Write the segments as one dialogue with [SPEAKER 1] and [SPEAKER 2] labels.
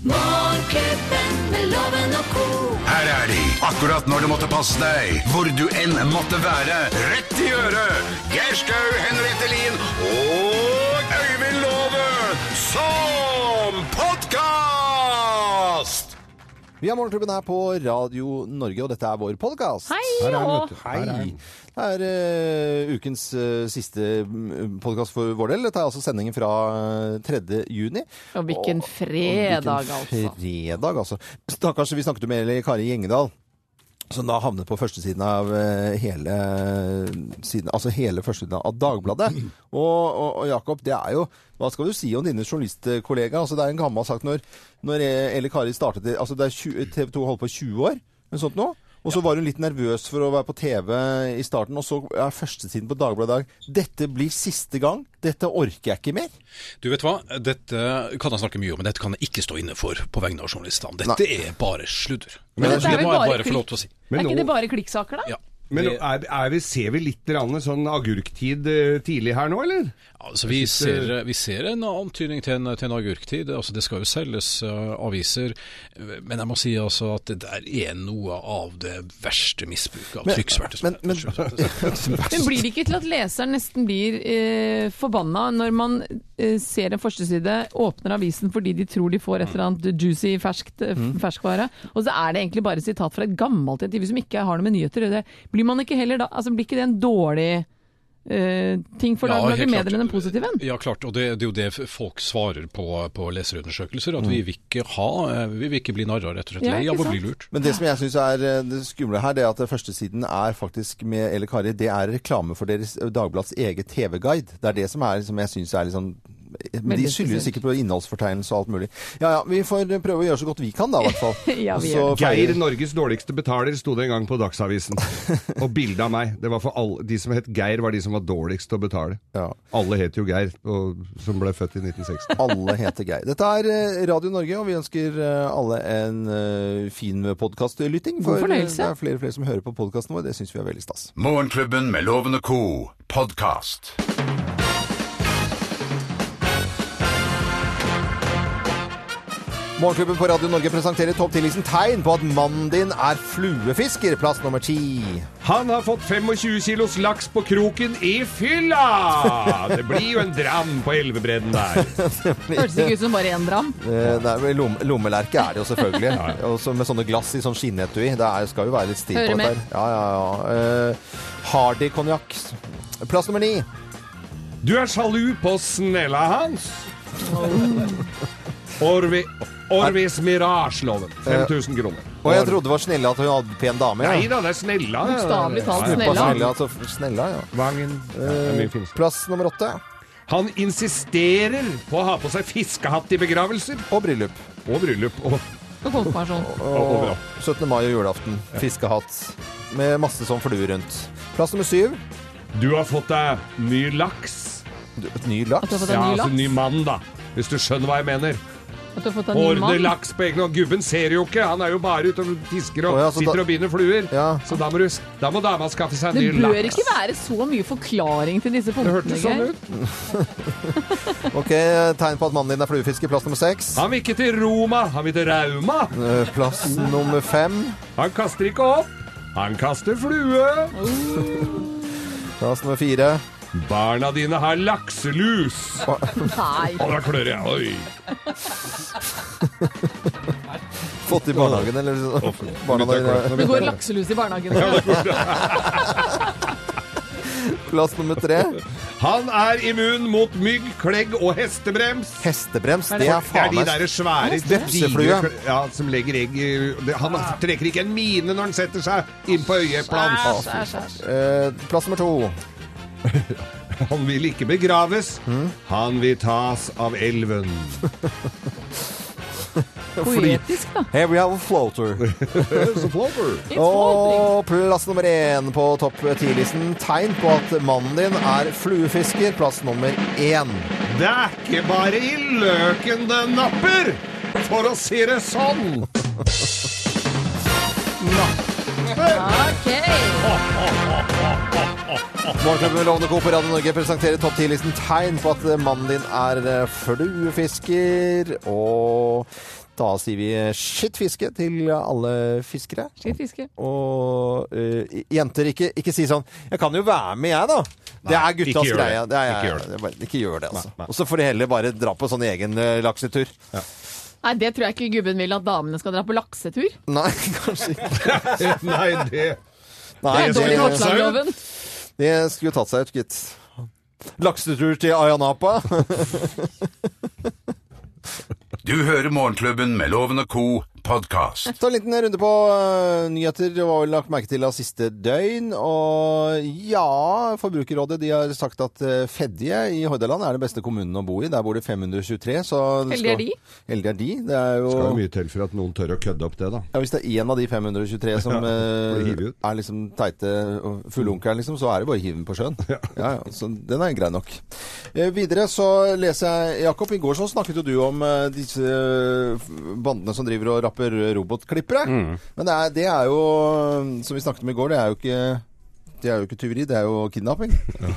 [SPEAKER 1] Morgenklubben med loven og ko.
[SPEAKER 2] Her er de, akkurat når du måtte passe deg, hvor du enn måtte være. Rett i øret! Geir Skau, Henriette Lien og Øyvind Låve som podkast!
[SPEAKER 3] Vi har Morgenklubben her på Radio Norge, og dette er vår podkast.
[SPEAKER 4] Hei, og
[SPEAKER 3] Hei! Det er eh, ukens eh, siste podkast for vår del. Dette er altså sendingen fra eh, 3. juni.
[SPEAKER 4] Og hvilken
[SPEAKER 3] Og- og
[SPEAKER 4] fredag, altså.
[SPEAKER 3] Hvilken fredag, altså. Stakkars, vi snakket jo med Eli Kari Gjengedal. Som da havnet på førstesiden av eh, hele, siden, altså hele førstesiden av Dagbladet. Og, og, og Jakob, det er jo Hva skal du si om dine journalistkollegaer? Altså, det er en gammel sak når, når E- Eli Kari startet i- altså, det er 20, TV 2 holdt på i 20 år, eller sånt nå. Og så var hun litt nervøs for å være på TV i starten, og så er førstesiden på Dagbladet i dag Dette blir siste gang. Dette orker jeg ikke mer.
[SPEAKER 5] Du vet hva, dette kan jeg snakke mye om, men dette kan jeg ikke stå inne for på vegne av journalistene. Dette er bare sludder.
[SPEAKER 4] Men dette er
[SPEAKER 5] altså, det
[SPEAKER 4] vel
[SPEAKER 5] må jeg
[SPEAKER 4] bare
[SPEAKER 5] bare få lov til å si.
[SPEAKER 4] Er
[SPEAKER 6] Men
[SPEAKER 4] ikke
[SPEAKER 6] nå-
[SPEAKER 4] det bare klikksaker, da?
[SPEAKER 5] Ja.
[SPEAKER 6] Men
[SPEAKER 5] Det-
[SPEAKER 6] er, er vi, ser vi litt grann sånn agurktid eh, tidlig her nå, eller?
[SPEAKER 5] Altså, vi, ser, vi ser en antydning til en, til en agurktid. Altså, det skal jo selges eh, aviser. Men jeg må si altså at det der er noe av det verste misbruket av
[SPEAKER 3] Men-
[SPEAKER 5] trykksverte.
[SPEAKER 3] men- men-
[SPEAKER 4] Men blir det ikke til at leseren nesten blir eh, forbanna når man eh, ser en førsteside, åpner avisen fordi de tror de får et eller annet juicy ferskt, eh,
[SPEAKER 5] Mm.
[SPEAKER 4] ferskvare, og så er det egentlig bare sitat fra et gammelt intervju som ikke har noe med nyheter å gjøre. Blir man ikke heller da Altså, blir ikke det en dårlig eh, ting for
[SPEAKER 5] Ja,
[SPEAKER 4] Dagbladet
[SPEAKER 5] helt
[SPEAKER 4] Medier
[SPEAKER 5] klart.
[SPEAKER 4] enn en positiv en?
[SPEAKER 5] Ja, klart. Og det, det er jo det folk svarer på, på leserundersøkelser.
[SPEAKER 4] Mm.
[SPEAKER 5] At vi vil ikke ha, eh, vi vil ikke bli narra, rett og slett.
[SPEAKER 4] Ja,
[SPEAKER 5] Lei
[SPEAKER 4] ikke
[SPEAKER 5] av å bli
[SPEAKER 4] sant?
[SPEAKER 5] lurt.
[SPEAKER 3] Men det som jeg syns er eh, det skumle her, det er at førstesiden er faktisk med Elle Kari, det er reklame for deres eh, Dagbladets eget TV-guide. Det er det som er, som jeg syns er litt sånn men de
[SPEAKER 4] Veldig
[SPEAKER 3] skylder
[SPEAKER 4] spesielt.
[SPEAKER 3] sikkert på innholdsfortegnelse og alt mulig. Ja ja, vi får eh, prøve å gjøre så godt vi kan da, i hvert fall.
[SPEAKER 4] Ja, vi
[SPEAKER 3] Og så
[SPEAKER 4] gjør
[SPEAKER 6] Geir,
[SPEAKER 3] feirer-
[SPEAKER 6] Norges dårligste betaler, sto det en gang på Dagsavisen. Og bilde av meg. Det var for alle, De som het Geir, var de som var dårligst til å betale.
[SPEAKER 3] Ja.
[SPEAKER 6] Alle het jo Geir, og, som ble født i 1960.
[SPEAKER 3] Alle heter Geir. Dette er eh, Radio Norge, og vi ønsker eh, alle en eh, fin podkastlytting.
[SPEAKER 4] God
[SPEAKER 3] eh,
[SPEAKER 4] fornøyelse.
[SPEAKER 3] det er flere og flere som hører på podkasten vår. Det syns vi er veldig stas.
[SPEAKER 2] Morgenklubben med Loven og Co. podkast.
[SPEAKER 3] Morgenklubben på Radio Norge presenterer topp 10-listen tegn på at mannen din er fluefisker. Plass nummer ti.
[SPEAKER 6] Han har fått 25 kilos laks på kroken i fylla! Det blir jo en dram på elvebredden der.
[SPEAKER 4] Hørtes ikke ut som bare én dram.
[SPEAKER 3] Eh, det er vel lomme, lommelerke er det jo selvfølgelig. Og så med sånne glass i sånn skinnetui. Det er, skal jo være litt stil
[SPEAKER 4] Hører
[SPEAKER 3] på dette
[SPEAKER 4] med.
[SPEAKER 3] her. Ja, ja, ja. Eh, Hardy konjakk. Plass nummer ni.
[SPEAKER 6] Du er sjalu på snella hans. Orvi, Orvis Mirage-loven. 5000 kroner.
[SPEAKER 3] Og jeg trodde det var snille at hun hadde pen dame. Ja.
[SPEAKER 6] Nei da, det er snella.
[SPEAKER 4] Bokstavelig talt
[SPEAKER 6] Ja, ja.
[SPEAKER 3] Snella.
[SPEAKER 4] snella.
[SPEAKER 3] Snella, altså, f- snella, ja. Eh,
[SPEAKER 6] Vangen. Ja, det er mye fint.
[SPEAKER 3] Plass nummer åtte.
[SPEAKER 6] Eh, Han insisterer på å ha på seg fiskehatt i begravelser
[SPEAKER 3] Og bryllup.
[SPEAKER 6] og bryllup. Og,
[SPEAKER 4] Og konfirmasjon.
[SPEAKER 6] og, og bra.
[SPEAKER 3] 17. mai og julaften. Fiskehatt. Med masse sånn flue rundt. Plass nummer syv.
[SPEAKER 6] Du har fått deg ny laks.
[SPEAKER 3] Du, Et ny
[SPEAKER 4] At du har
[SPEAKER 3] laks.
[SPEAKER 4] fått deg
[SPEAKER 6] Ja,
[SPEAKER 4] ny
[SPEAKER 6] altså ny
[SPEAKER 4] laks.
[SPEAKER 6] mann, da. Hvis du skjønner hva jeg mener.
[SPEAKER 4] At du har fått deg ny
[SPEAKER 6] Ordne
[SPEAKER 4] mann.
[SPEAKER 6] laks på egen hånd. Gubben ser jo ikke, han er jo bare ute og fisker og
[SPEAKER 3] Å, ja, så da-
[SPEAKER 6] sitter og binder fluer.
[SPEAKER 3] Ja.
[SPEAKER 6] Så da må, du, da må dama skaffe seg
[SPEAKER 4] Det
[SPEAKER 6] ny laks.
[SPEAKER 4] bør ikke være så mye forklaring til disse
[SPEAKER 6] Det
[SPEAKER 4] punktene.
[SPEAKER 6] hørtes sånn
[SPEAKER 4] Geir.
[SPEAKER 6] ut.
[SPEAKER 3] Ok, Tegn på at mannen din er fluefisker. Plass nummer seks.
[SPEAKER 6] Han vil ikke til Roma, han vil til Rauma.
[SPEAKER 3] Eh, Plass nummer fem.
[SPEAKER 6] Han kaster ikke opp. Han kaster flue.
[SPEAKER 3] Plass nummer fire.
[SPEAKER 6] Barna dine har lakselus.
[SPEAKER 4] Nei.
[SPEAKER 6] Å, da klør jeg. Oi.
[SPEAKER 3] Fått i barnehagen, eller? liksom? Barna dine.
[SPEAKER 4] Det går lakselus i barnehagen.
[SPEAKER 3] Plass nummer tre.
[SPEAKER 6] Han er immun mot mygg, klegg og hestebrems.
[SPEAKER 3] Hestebrems, det
[SPEAKER 4] det
[SPEAKER 3] er
[SPEAKER 6] Det er
[SPEAKER 3] faen
[SPEAKER 6] de
[SPEAKER 3] meg
[SPEAKER 6] der svære
[SPEAKER 3] Vepseflue.
[SPEAKER 6] digre- Ja, som legger egg i det- Han trekker ikke en mine når han setter seg inn på
[SPEAKER 1] Ah.
[SPEAKER 6] øyeplan.
[SPEAKER 4] Æsj, æsj, æsj.
[SPEAKER 3] Eh, Plass nummer to.
[SPEAKER 6] Han vil ikke begraves. Han vil tas av elven.
[SPEAKER 4] Poetisk, da.
[SPEAKER 3] Here we have a floater.
[SPEAKER 6] Så flopper.
[SPEAKER 4] It's floating.
[SPEAKER 3] Og plass nummer én på topp ti-listen. Tegn på at mannen din er fluefisker. Plass nummer én.
[SPEAKER 6] Det er ikke bare i løken det napper, for å si det sånn.
[SPEAKER 4] Ok.
[SPEAKER 3] Morgenklubben med Lovende Co. på Radio Norge presenterer topp ti-listen tegn på at mannen din er eh, fluefisker. Og Da sier vi skitt fiske til alle fiskere.
[SPEAKER 4] Skal jeg fiske?
[SPEAKER 3] Og eh, jenter, ikke, ikke si sånn 'Jeg kan jo være med, jeg, da'. det er
[SPEAKER 6] ikke
[SPEAKER 3] guttas
[SPEAKER 6] gjør det.
[SPEAKER 3] greie. Det er,
[SPEAKER 6] Ikke gjør det.
[SPEAKER 3] det er bare- ikke gjør det, altså.
[SPEAKER 6] Nei, nei.
[SPEAKER 3] Og så får de heller bare dra på sånn egen eh, laksetur.
[SPEAKER 4] Nei, det tror jeg ikke gubben vil at damene skal dra på laksetur.
[SPEAKER 3] Nei, kanskje ikke.
[SPEAKER 6] Nei, det
[SPEAKER 4] Det
[SPEAKER 3] Nei,
[SPEAKER 4] er
[SPEAKER 6] skal
[SPEAKER 4] dårlig
[SPEAKER 6] vi ta seg ut.
[SPEAKER 4] voksenloven.
[SPEAKER 3] det skulle jo tatt seg ut, gitt. Laksetur til Ayanapa.
[SPEAKER 2] Du hører Morgenklubben med Loven og Co. podkast.
[SPEAKER 3] Ta en liten runde på øh, nyheter. Det var vel lagt merke til av siste døgn. Og ja, Forbrukerrådet de har sagt at øh, Fedje i Hordaland er den beste kommunen å bo i. Der bor det 523. Så det
[SPEAKER 4] Heldige
[SPEAKER 3] skal-
[SPEAKER 4] er de.
[SPEAKER 3] Heldige er de. Det er jo
[SPEAKER 6] skal jo mye til for at noen tør å kødde opp det, da.
[SPEAKER 3] ja, Hvis det er én av de 523 som
[SPEAKER 6] Ja,
[SPEAKER 3] øh,
[SPEAKER 6] blir hivet ut.
[SPEAKER 3] er liksom teite og fugleonkelen, liksom, så er det bare å hive den på sjøen. Ja. Ja, så den er grei nok. Eh, videre så leser jeg Jakob, i går så snakket jo du om eh, disse eh, bandene som driver og rapper robotklippere.
[SPEAKER 6] Mm.
[SPEAKER 3] Men det er, det er jo, eh, som vi snakket om i går, det er jo ikke det er jo ikke tyveri, det er jo kidnapping.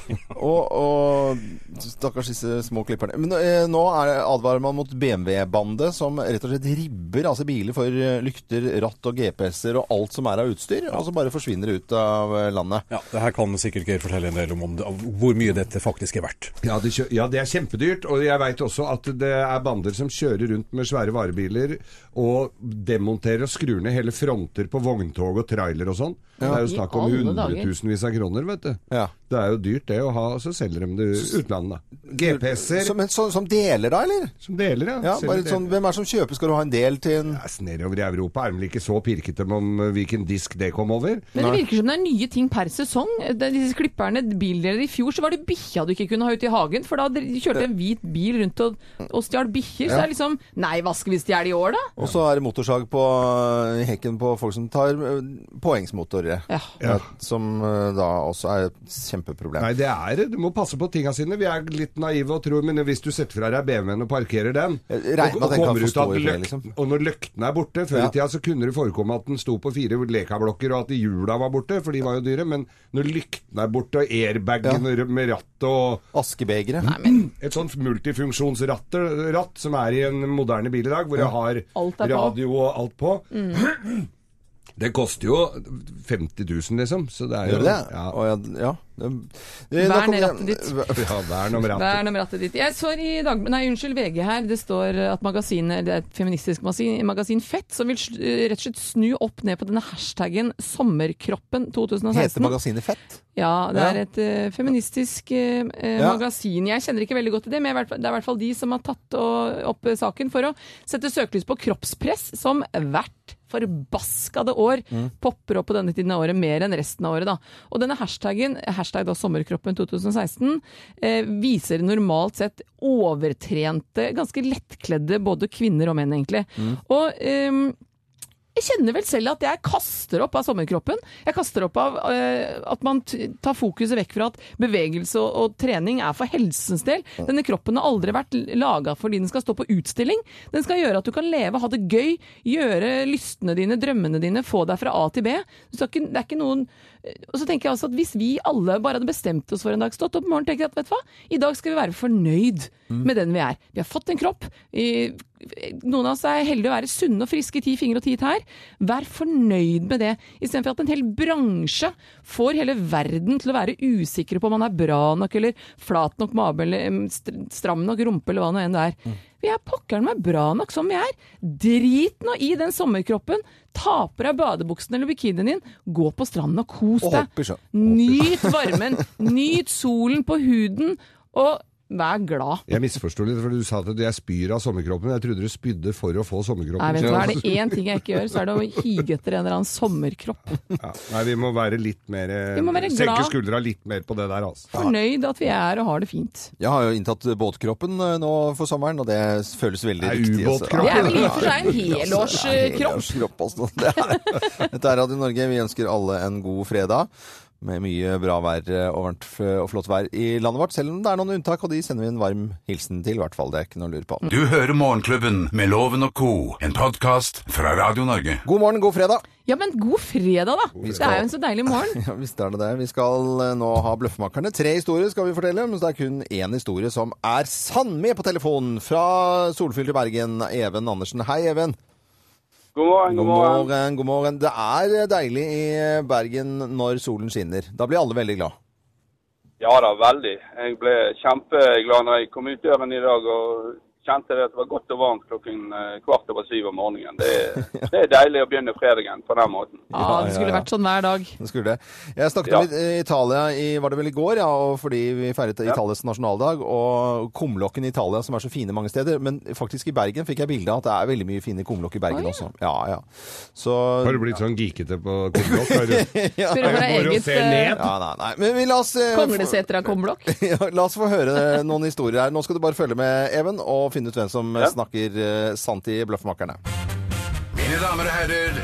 [SPEAKER 3] og, og stakkars disse små klipperne. Men eh, nå er, det- advarer man mot BMW-bandet som rett og slett ribber altså biler for eh, lykter, ratt og GPS-er og alt som er av utstyr, og så bare forsvinner ut av eh, landet.
[SPEAKER 7] Ja, det her kan sikkert Geir fortelle en del om, om det, av hvor mye dette faktisk er verdt.
[SPEAKER 6] Ja, det, kjø ja, det er kjempedyrt, og jeg veit også at det er bander som kjører rundt med svære varebiler og demonterer og skrur ned hele fronter på vogntog og trailer og sånn. Det er jo
[SPEAKER 4] I
[SPEAKER 6] snakk om
[SPEAKER 4] alle dager.
[SPEAKER 6] hundretusenvis av kroner, vet du.
[SPEAKER 3] Ja.
[SPEAKER 6] Det er jo dyrt det å ha, og så selger de det i utlandet, da. GPS-er som,
[SPEAKER 3] Som, en- som, som deler, da, eller?
[SPEAKER 6] deler, ja.
[SPEAKER 3] Ja,
[SPEAKER 6] Selger
[SPEAKER 3] bare
[SPEAKER 6] det.
[SPEAKER 3] sånn, hvem er det som kjøper? Skal du ha en del til en
[SPEAKER 6] Yes, Nedover i Europa er de vel ikke så pirkete om eh, hvilken disk det kom over.
[SPEAKER 4] Men det virker som det er nye ting per sesong. Det er disse klipperne, bildeler I fjor så var det bikkja du ikke kunne ha ute i hagen, for da hadde- kjørte en hvit bil rundt og, og stjal bikkjer. Så det er liksom Nei, hva skal vi stjele i år, da?
[SPEAKER 3] Og så er det motorsag på øh, hekken på folk som tar øh, påhengsmotorer.
[SPEAKER 4] Ja.
[SPEAKER 3] Ja, Som øh, da også er et kjempeproblem.
[SPEAKER 6] Nei, det er det. Du må passe på tinga sine. Vi er litt naive og tror, men hvis du setter fra deg BMW-en og parkerer den,
[SPEAKER 3] Jeg
[SPEAKER 6] og,
[SPEAKER 3] Eh, regner med at
[SPEAKER 6] og
[SPEAKER 3] den kan
[SPEAKER 6] kommer
[SPEAKER 3] få
[SPEAKER 6] ut
[SPEAKER 3] stå
[SPEAKER 6] at
[SPEAKER 3] i fred,
[SPEAKER 6] løkt,
[SPEAKER 3] liksom.
[SPEAKER 6] og når løktene er borte Før
[SPEAKER 3] Ja.
[SPEAKER 6] i tida så kunne det forekomme at den sto på fire lekablokker, og at hjula var borte, for de var jo dyre, men når lyktene er borte, og airbagen med ratt og
[SPEAKER 3] Askebegeret.
[SPEAKER 6] et sånt multifunksjonsratt ratt som er i en moderne bil i dag, hvor det
[SPEAKER 4] Alt er
[SPEAKER 6] har
[SPEAKER 4] på. Mm.
[SPEAKER 6] radio og alt på. Det koster jo 50 000, liksom. Så det er jo
[SPEAKER 3] Gjør det?
[SPEAKER 6] Ja,
[SPEAKER 3] Å, ja, d- ja. Det-
[SPEAKER 4] Vern
[SPEAKER 3] Nå kom
[SPEAKER 4] i
[SPEAKER 3] jeg-
[SPEAKER 4] rattet ditt.
[SPEAKER 6] ja vern om
[SPEAKER 4] Det
[SPEAKER 6] rattet.
[SPEAKER 4] er nummer rattet ditt. Jeg så i dag, nei, unnskyld, VG her. Det står at magasinet, det er et feministisk magasin, magasin Fett, som vil sl- rett og slett snu opp ned på denne hashtaggen 'Sommerkroppen 2016'.
[SPEAKER 3] Heter magasinet Fett?
[SPEAKER 4] Ja, det er
[SPEAKER 3] Ja.
[SPEAKER 4] et eh, feministisk eh, eh,
[SPEAKER 3] Ja.
[SPEAKER 4] magasin. Jeg kjenner ikke veldig godt til det, men jeg er i hvert fall- det er i hvert fall de som har tatt å- opp eh, saken for å sette søkelys på kroppspress, som hvert forbaskede år
[SPEAKER 3] Mm.
[SPEAKER 4] popper opp på denne tiden av året, mer enn resten av året. da. Og denne hashtaggen, hashtag da sommerkroppen 2016, eh, viser normalt sett overtrente, ganske lettkledde både kvinner og menn, egentlig.
[SPEAKER 3] Mm.
[SPEAKER 4] Og... ehm, jeg kjenner vel selv at jeg kaster opp av sommerkroppen. Jeg kaster opp av eh, at man t tar fokuset vekk fra at bevegelse og, og trening er for helsens del. Denne kroppen har aldri vært laga fordi den skal stå på utstilling. Den skal gjøre at du kan leve, ha det gøy, gjøre lystene dine, drømmene dine, få deg fra A til B. Du skal ikke, det er ikke noen og så tenker jeg også at Hvis vi alle bare hadde bestemt oss for en dag, stått opp i morgen og tenkt at vet du hva, i dag skal vi være fornøyd med den vi er. Vi har fått en kropp. eh, Noen av oss er heldige å være sunne og friske i ti fingre og ti tær. Vær fornøyd med det, istedenfor at en hel bransje får hele verden til å være usikre på om man er bra nok eller flat nok mage eller em, str- stram nok rumpe eller hva nå enn det er. Vi er pokkeren meg bra nok som vi er. Drit nå i den sommerkroppen. Ta på deg badebuksene eller bikinien din. Gå på stranden og kos
[SPEAKER 3] Og
[SPEAKER 4] deg.
[SPEAKER 3] hopp i sjøen.
[SPEAKER 4] Nyt varmen. Nyt solen på huden. Og vær glad.
[SPEAKER 6] Jeg misforsto litt, for du sa at jeg spyr av sommerkroppen. Jeg trodde du spydde for å få sommerkroppen.
[SPEAKER 4] Nei, vet du hva, Er det én ting jeg ikke gjør, så er det å hige etter en eller annen sommerkropp.
[SPEAKER 6] Ja. Nei, vi må være litt mer eh,
[SPEAKER 4] Vi må være
[SPEAKER 6] Senke
[SPEAKER 4] glad.
[SPEAKER 6] skuldra litt mer på det der, altså.
[SPEAKER 4] Fornøyd at vi er og har det fint.
[SPEAKER 3] Jeg har jo inntatt båtkroppen øh, nå for sommeren, og det føles veldig
[SPEAKER 6] Det er
[SPEAKER 3] riktig. altså.
[SPEAKER 6] ubåtkropp.
[SPEAKER 4] Det er vel i
[SPEAKER 3] Ja,
[SPEAKER 4] og for seg en helårskropp.
[SPEAKER 3] Helårskropp, altså. Det er- Dette er Radio Norge. Vi ønsker alle en god fredag. med mye bra vær eh, og varmt f- og flott vær i landet vårt. Selv om det er noen unntak, og de sender vi en varm hilsen til, i hvert fall. Det er ikke noe å lure på.
[SPEAKER 2] Du hører Morgenklubben med Loven og Co., en podkast fra Radio Norge.
[SPEAKER 3] God morgen, god fredag.
[SPEAKER 4] Ja, men god fredag, da! Det er jo en så deilig morgen.
[SPEAKER 3] Ja, visst er det det. Vi skal eh, nå ha Bløffmakerne. Tre historier skal vi fortelle, men det er kun én historie som er sann med på telefonen. Fra solfylte Bergen, Even Andersen. Hei, Even.
[SPEAKER 8] God morgen, god
[SPEAKER 3] God
[SPEAKER 8] morgen.
[SPEAKER 3] morgen, god morgen. Det er deilig i Bergen når solen skinner. Da blir alle veldig glad.
[SPEAKER 8] Ja da, veldig. Jeg ble kjempeglad når jeg kom ut døren i dag og kjente det at det var godt og varmt klokken eh, kvart over syv om morgenen. Det, er- det er deilig å begynne fredagen på den måten.
[SPEAKER 4] Ja, det skulle vært sånn hver dag.
[SPEAKER 3] Det skulle det. Jeg snakket
[SPEAKER 8] Ja.
[SPEAKER 3] om i- Italia i, var det vel i går, ja, og fordi vi feiret Italias nasjonaldag, og kumlokken i Italia, som er så fine mange steder. Men faktisk i Bergen fikk jeg bilde av at det er veldig mye fine kumlokk i Bergen også. Ja, ja. Så
[SPEAKER 6] Har du blitt sånn geekete på kumlokk? Er du-
[SPEAKER 4] Spør om det er
[SPEAKER 6] er det bare å
[SPEAKER 4] eget
[SPEAKER 6] se
[SPEAKER 4] eh,
[SPEAKER 6] ned?
[SPEAKER 3] ja, nei, nei. Men vi la oss eh,
[SPEAKER 4] Kongleseter av kumlokk.
[SPEAKER 3] Ja, La oss få høre noen historier her. Nå skal du bare følge med, Even, og finne ut hvem som snakker eh, sant i Bløffmakerne.
[SPEAKER 2] Mine damer og herrer,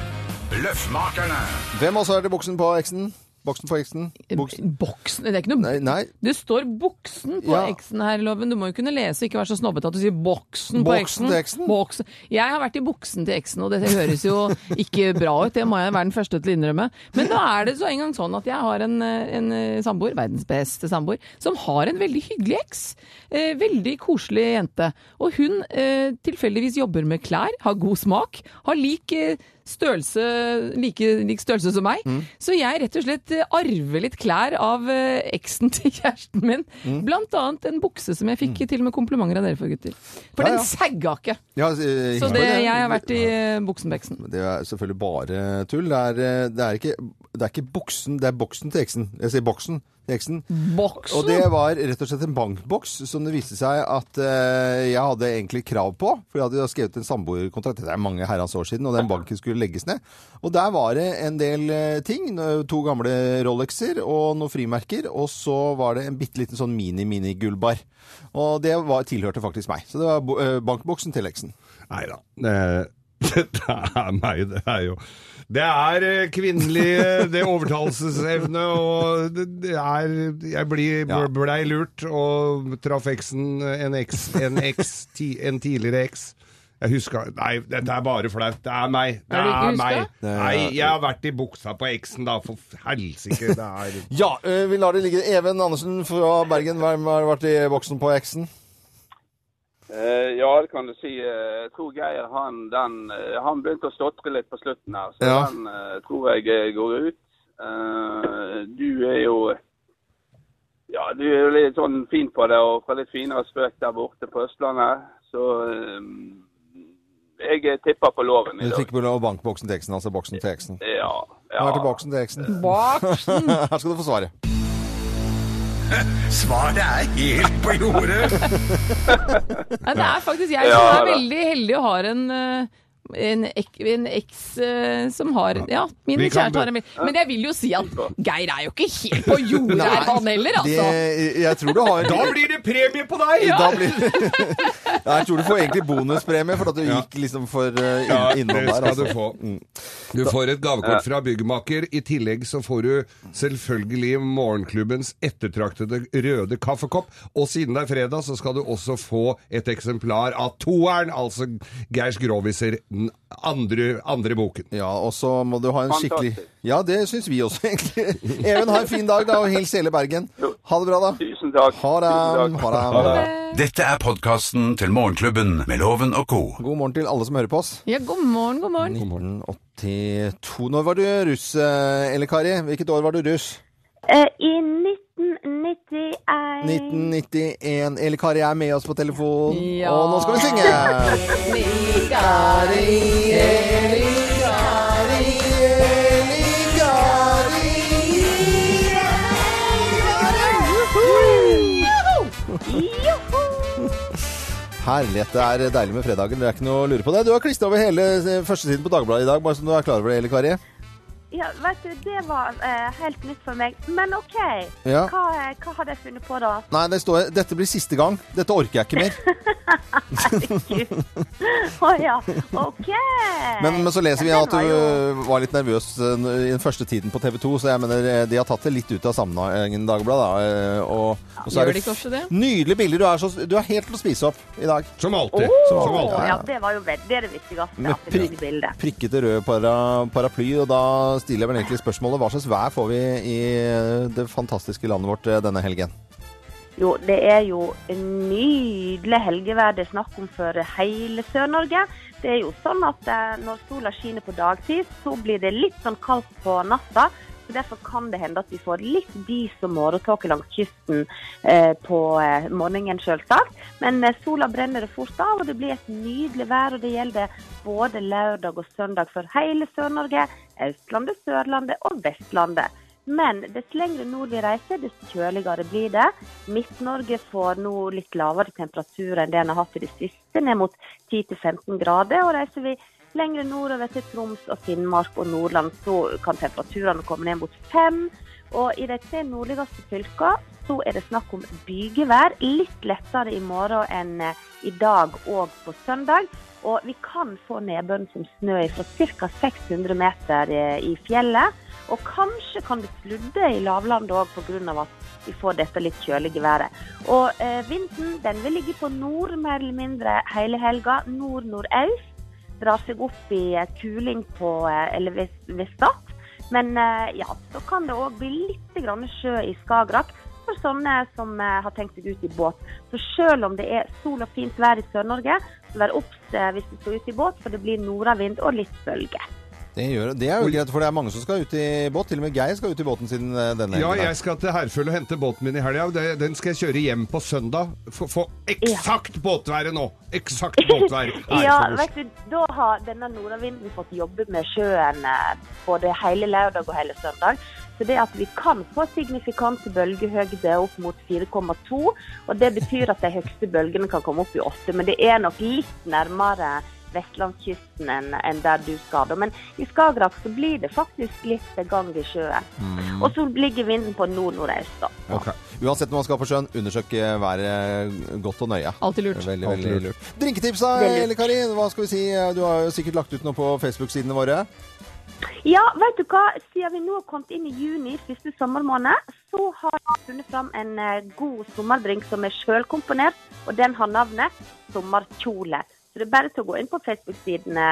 [SPEAKER 2] Løffmakerne.
[SPEAKER 3] Hvem også er det i buksen på eksen? Boksen på eksen? Buksen?
[SPEAKER 4] Boksen Det er ikke noe
[SPEAKER 3] Nei, nei.
[SPEAKER 4] Det står 'boksen' på
[SPEAKER 3] Ja.
[SPEAKER 4] eksen her, Loven. Du må jo kunne lese og ikke være så snobbete at du sier 'boksen' på
[SPEAKER 3] Boksen
[SPEAKER 4] eksen.
[SPEAKER 3] til eksen?
[SPEAKER 4] Boksen. Jeg har vært i buksen til eksen, og det høres jo ikke bra ut. Det må jeg være den første til å innrømme. Men da er det så en gang sånn at jeg har en, eh, en eh, samboer, verdens beste samboer, som har en veldig hyggelig eks. Eh, veldig koselig jente. Og hun eh, tilfeldigvis jobber med klær, har god smak, har lik eh, størrelse, like, lik størrelse som meg.
[SPEAKER 3] Mm.
[SPEAKER 4] Så jeg rett og slett eh, arver litt klær av eh, eksen til kjæresten min.
[SPEAKER 3] Mm.
[SPEAKER 4] Blant annet en bukse som jeg fikk til og med komplimenter av dere for, gutter. For
[SPEAKER 3] Ja, ja.
[SPEAKER 4] den sagga ikke!
[SPEAKER 3] Ja, eh,
[SPEAKER 4] Så det, jeg har vært i eh, buksen på eksen.
[SPEAKER 3] Det er selvfølgelig bare tull. Det er, eh, det er, ikke, det er ikke buksen, det er boksen til eksen. Jeg sier boksen til eksen. Og
[SPEAKER 4] Boksen!
[SPEAKER 3] det var rett og slett en bankboks som det viste seg at eh, jeg hadde egentlig krav på. For jeg hadde jo skrevet en samboerkontrakt, det er mange herrens år siden, og den banken skulle legges ned. Og der var det en del eh, ting. nå- To gamle Rolexer og noen frimerker. Og så var det en bitte liten sånn mini-mini-gullbar. Og det var, tilhørte faktisk meg. Så det var bo- eh, bankboksen til eksen.
[SPEAKER 6] Nei da. Eh, Dette er meg, det er jo Det er eh, kvinnelig Det er overtalelsesevne, og det det er Jeg blir-
[SPEAKER 3] Ja.
[SPEAKER 6] blei lurt, og traff eksen, en eks, en eks, ti, en tidligere eks. Jeg huska Nei, dette er bare flaut. Det er meg. Det
[SPEAKER 4] Er det ikke
[SPEAKER 6] er meg.
[SPEAKER 4] huska?
[SPEAKER 6] Nei, jeg har vært i buksa på eksen, da. For helsike, det er
[SPEAKER 3] Ja, eh, vi lar det ligge. Even Andersen fra Bergen, hvem har vært i boksen på eksen?
[SPEAKER 8] Eh, ja, det kan du si. Eh, Jeg tror Geir han, den, eh, han begynte å stotre litt på slutten her, så
[SPEAKER 3] Ja.
[SPEAKER 8] den eh, tror jeg eh, går ut. Eh, du er jo ja, du er jo litt sånn fin på det, og fra litt finere spøk der borte på Østlandet. Så eh, jeg tipper på loven i
[SPEAKER 3] Du
[SPEAKER 8] dag.
[SPEAKER 3] fikk vel bankboksen til eksen, altså boksen til eksen.
[SPEAKER 8] Ja,
[SPEAKER 3] Hva er til
[SPEAKER 8] ja.
[SPEAKER 3] boksen til eksen?
[SPEAKER 4] Boksen!
[SPEAKER 3] Her skal du få svaret.
[SPEAKER 2] Svaret er helt på jordet.
[SPEAKER 4] Nei, det er faktisk jeg som
[SPEAKER 8] Ja,
[SPEAKER 4] er
[SPEAKER 8] da.
[SPEAKER 4] veldig heldig og har en eh, en, ek, en eks eh, som har Ja, min
[SPEAKER 6] Vi kan
[SPEAKER 4] kjæreste har en bil. Men jeg vil jo si at Geir er jo ikke helt på jordet,
[SPEAKER 3] Nei,
[SPEAKER 4] han heller, altså.
[SPEAKER 3] Det, jeg tror du har
[SPEAKER 6] Da blir det premie på deg!
[SPEAKER 3] Da blir- Ja, jeg tror du får egentlig bonuspremie for at du gikk liksom for eh, inn,
[SPEAKER 6] Ja,
[SPEAKER 3] innom
[SPEAKER 6] det
[SPEAKER 3] der.
[SPEAKER 6] skal
[SPEAKER 3] Altså.
[SPEAKER 6] du få. Mm. Du får et gavekort fra byggmaker. I tillegg så får du selvfølgelig morgenklubbens ettertraktede røde kaffekopp. Og siden det er fredag, så skal du også få et eksemplar av toeren, altså Geirs Groviser, den andre, andre boken.
[SPEAKER 3] Ja, og så må du ha en skikkelig
[SPEAKER 8] Fantastisk.
[SPEAKER 3] Ja, det syns vi også, egentlig. Even, ha en fin dag, da, og hils hele Bergen. Ha det bra, da.
[SPEAKER 8] Tusen takk.
[SPEAKER 3] Ha det.
[SPEAKER 8] Tusen takk.
[SPEAKER 3] Ha det.
[SPEAKER 2] Dette er podkasten til Morgenklubben med Loven og Co.
[SPEAKER 3] God morgen til alle som hører på oss.
[SPEAKER 4] Ja, god morgen, god morgen.
[SPEAKER 3] 1982. Når var du russ, eh, Elle Kari? Hvilket år var du russ?
[SPEAKER 9] Eh, I
[SPEAKER 6] Mm.
[SPEAKER 9] 1991
[SPEAKER 3] 1991. Elle Kari er med oss på telefon,
[SPEAKER 4] Ja.
[SPEAKER 3] og nå skal vi synge! Herlighet, det er deilig med fredagen. Det er ikke noe å lure på det. Du har klistra over hele eh, førstesiden på Dagbladet i dag, bare så du er klar over det, Elle Kari.
[SPEAKER 9] Ja, vet du, det var eh, helt nytt for meg. Men OK,
[SPEAKER 3] Ja.
[SPEAKER 9] hva, eh, hva hadde jeg funnet på da?
[SPEAKER 3] Nei, det står 'Dette blir siste gang. Dette orker jeg ikke mer'.
[SPEAKER 9] Å ja, OK.
[SPEAKER 3] Men, men så leser vi
[SPEAKER 9] Ja,
[SPEAKER 3] at
[SPEAKER 9] den var jo-
[SPEAKER 3] du var litt nervøs eh, i den første tiden på TV 2, så jeg mener eh, de har tatt det litt ut av sammenhengen, Dagbladet. da, eh, Og, og så
[SPEAKER 4] Gjør
[SPEAKER 3] er
[SPEAKER 4] de
[SPEAKER 3] det
[SPEAKER 4] ikke også det?
[SPEAKER 3] nydelige bilder. Du er, så, du er helt til å spise opp i dag.
[SPEAKER 6] Som alltid.
[SPEAKER 3] Som
[SPEAKER 9] Å,
[SPEAKER 3] alltid.
[SPEAKER 9] ja, det var jo veld, det er det viktigste.
[SPEAKER 3] Med
[SPEAKER 9] At det blir
[SPEAKER 3] prikk.
[SPEAKER 9] bilde.
[SPEAKER 3] Prikkete rød para, paraply, og da stiller jeg vel egentlig spørsmålet hva slags vær får vi i eh, det fantastiske landet vårt eh, denne helgen?
[SPEAKER 9] Jo, det er jo en nydelig helgevær det er snakk om for hele Sør-Norge. Det er jo sånn at eh, når sola skinner på dagtid, så blir det litt sånn kaldt på natta. Så Derfor kan det hende at vi får litt dis og morgentåke langs kysten eh, på eh, morgenen, selvsagt. Men eh, sola brenner det fort av, og det blir et nydelig vær. Og det gjelder både lørdag og søndag for hele Sør-Norge, Østlandet, Sørlandet og Vestlandet. Men dess lengre nord vi reiser, dess kjøligere blir det. Midt-Norge får nå litt lavere temperatur enn det en har hatt i det siste, ned mot 10-15 grader. Og reiser vi lengre nordover til Troms og Finnmark og Nordland, så kan temperaturene komme ned mot fem. Og i de tre nordligste fylkene så er det snakk om bygevær. Litt lettere i morgen enn eh, i dag og på søndag. Og vi kan få nedbønn som snø fra ca. 600 meter eh, i fjellet. Og kanskje kan det sludde i lavlandet òg pga. at vi får dette litt kjølige været. Og eh, vinden den vil ligge på nord mer eller mindre hele helga. Nord-nordøst. Drar seg opp i eh, kuling på, eh, eller ved, ved Stad. Men eh, ja, så kan det òg bli litt grann sjø i Skagerrak for sånne som eh, har tenkt seg ut i båt. Så selv om det er sol og fint vær i Sør-Norge, så vær obs eh, hvis du skal ut i båt, for det blir nordavind og litt bølge.
[SPEAKER 3] Det, gjør, det er jo greit, for det er mange som skal ut i båt. Til og med Geir skal ut i båten sin eh, denne
[SPEAKER 6] Ja,
[SPEAKER 3] helgen.
[SPEAKER 6] jeg skal til Herføl og hente båten min i helga. og det- Den skal jeg kjøre hjem på søndag. Få- Få eksakt båtværet nå! Eksakt båtvær. Nei,
[SPEAKER 9] ja,
[SPEAKER 6] for
[SPEAKER 9] vet du, da har denne nordavinden fått jobbe med sjøen eh, både hele lørdag og hele søndag. Så det at vi kan få signifikante bølgehøyder opp mot 4,2, og det betyr at de høyeste bølgene kan komme opp i 8, men det er nok litt nærmere vestlandskysten enn enn der du skal. da. Men i Skagerrak så blir det faktisk litt gang i sjøen. Og så ligger vinden på nord-nordøst, da.
[SPEAKER 3] Ja. Uansett når man skal på sjøen, undersøk eh, været eh, godt og nøye.
[SPEAKER 4] Alltid lurt.
[SPEAKER 3] Veldig,
[SPEAKER 6] Alltid
[SPEAKER 3] veldig lurt. Drinketips da,
[SPEAKER 9] Veldig.
[SPEAKER 3] Elle Kari? Hva skal vi si? Du har jo sikkert lagt ut noe på Facebook-sidene våre.
[SPEAKER 9] Ja, vet du hva? Siden vi nå har kommet inn i juni, siste sommermåned, så har jeg funnet fram en eh, god sommerdrink som er sjølkomponert, og den har navnet Sommerkjole. Så det er bare til å gå inn på Facebook-sidene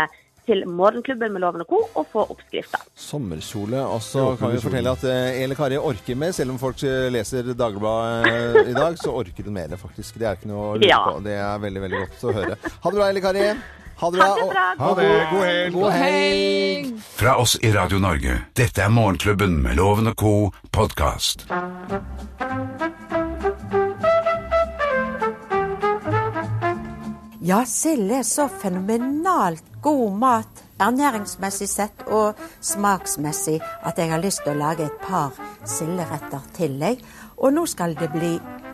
[SPEAKER 9] til Morgenklubben med Loven og Co. og få oppskrifta.
[SPEAKER 3] Sommerkjole. Og så kan vi fortelle at eh, Elle Kari orker mer. Selv om folk eh, leser Dagbladet eh, i dag, så orker hun mer, faktisk. Det er ikke noe å lure
[SPEAKER 9] Ja.
[SPEAKER 3] på. Det er veldig, veldig godt å høre. Ha det bra, Elle Kari. Ha det bra.
[SPEAKER 9] Ha det bra.
[SPEAKER 3] og-
[SPEAKER 6] Ha det. God helg.
[SPEAKER 3] God helg.
[SPEAKER 2] Fra oss i Radio Norge. Dette er Morgenklubben med Loven og co. podkast.
[SPEAKER 10] Ja, sild er så fenomenalt god mat ernæringsmessig sett og smaksmessig at jeg har lyst til å lage et par silderetter til. Jeg. Og nå skal det bli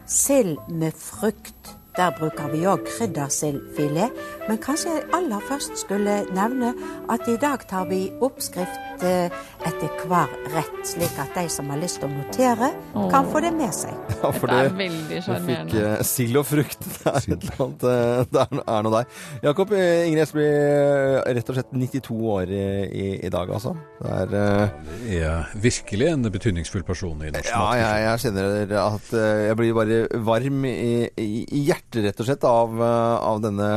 [SPEAKER 10] sild med frukt. Der bruker vi òg kryddersildfilet. Men kanskje jeg aller først skulle nevne at i dag tar vi oppskrift eh, etter hver rett, slik at de som har lyst til å notere, kan få det med seg.
[SPEAKER 3] Ja, for
[SPEAKER 4] Det er
[SPEAKER 3] det-
[SPEAKER 4] veldig
[SPEAKER 3] Du fikk
[SPEAKER 4] sjarmerende.
[SPEAKER 3] eh, sild og frukt. Det er, et eller annet, eh, det er, er noe der. Jakob eh, Ingrid Espelid, eh, rett og slett 92 år i, i, i dag, altså. Det er eh,
[SPEAKER 5] Er virkelig en betydningsfull person i norsk
[SPEAKER 3] Ja, jeg, jeg kjenner at eh, jeg blir bare varm i, i, i hjertet, rett og slett, av, eh, av denne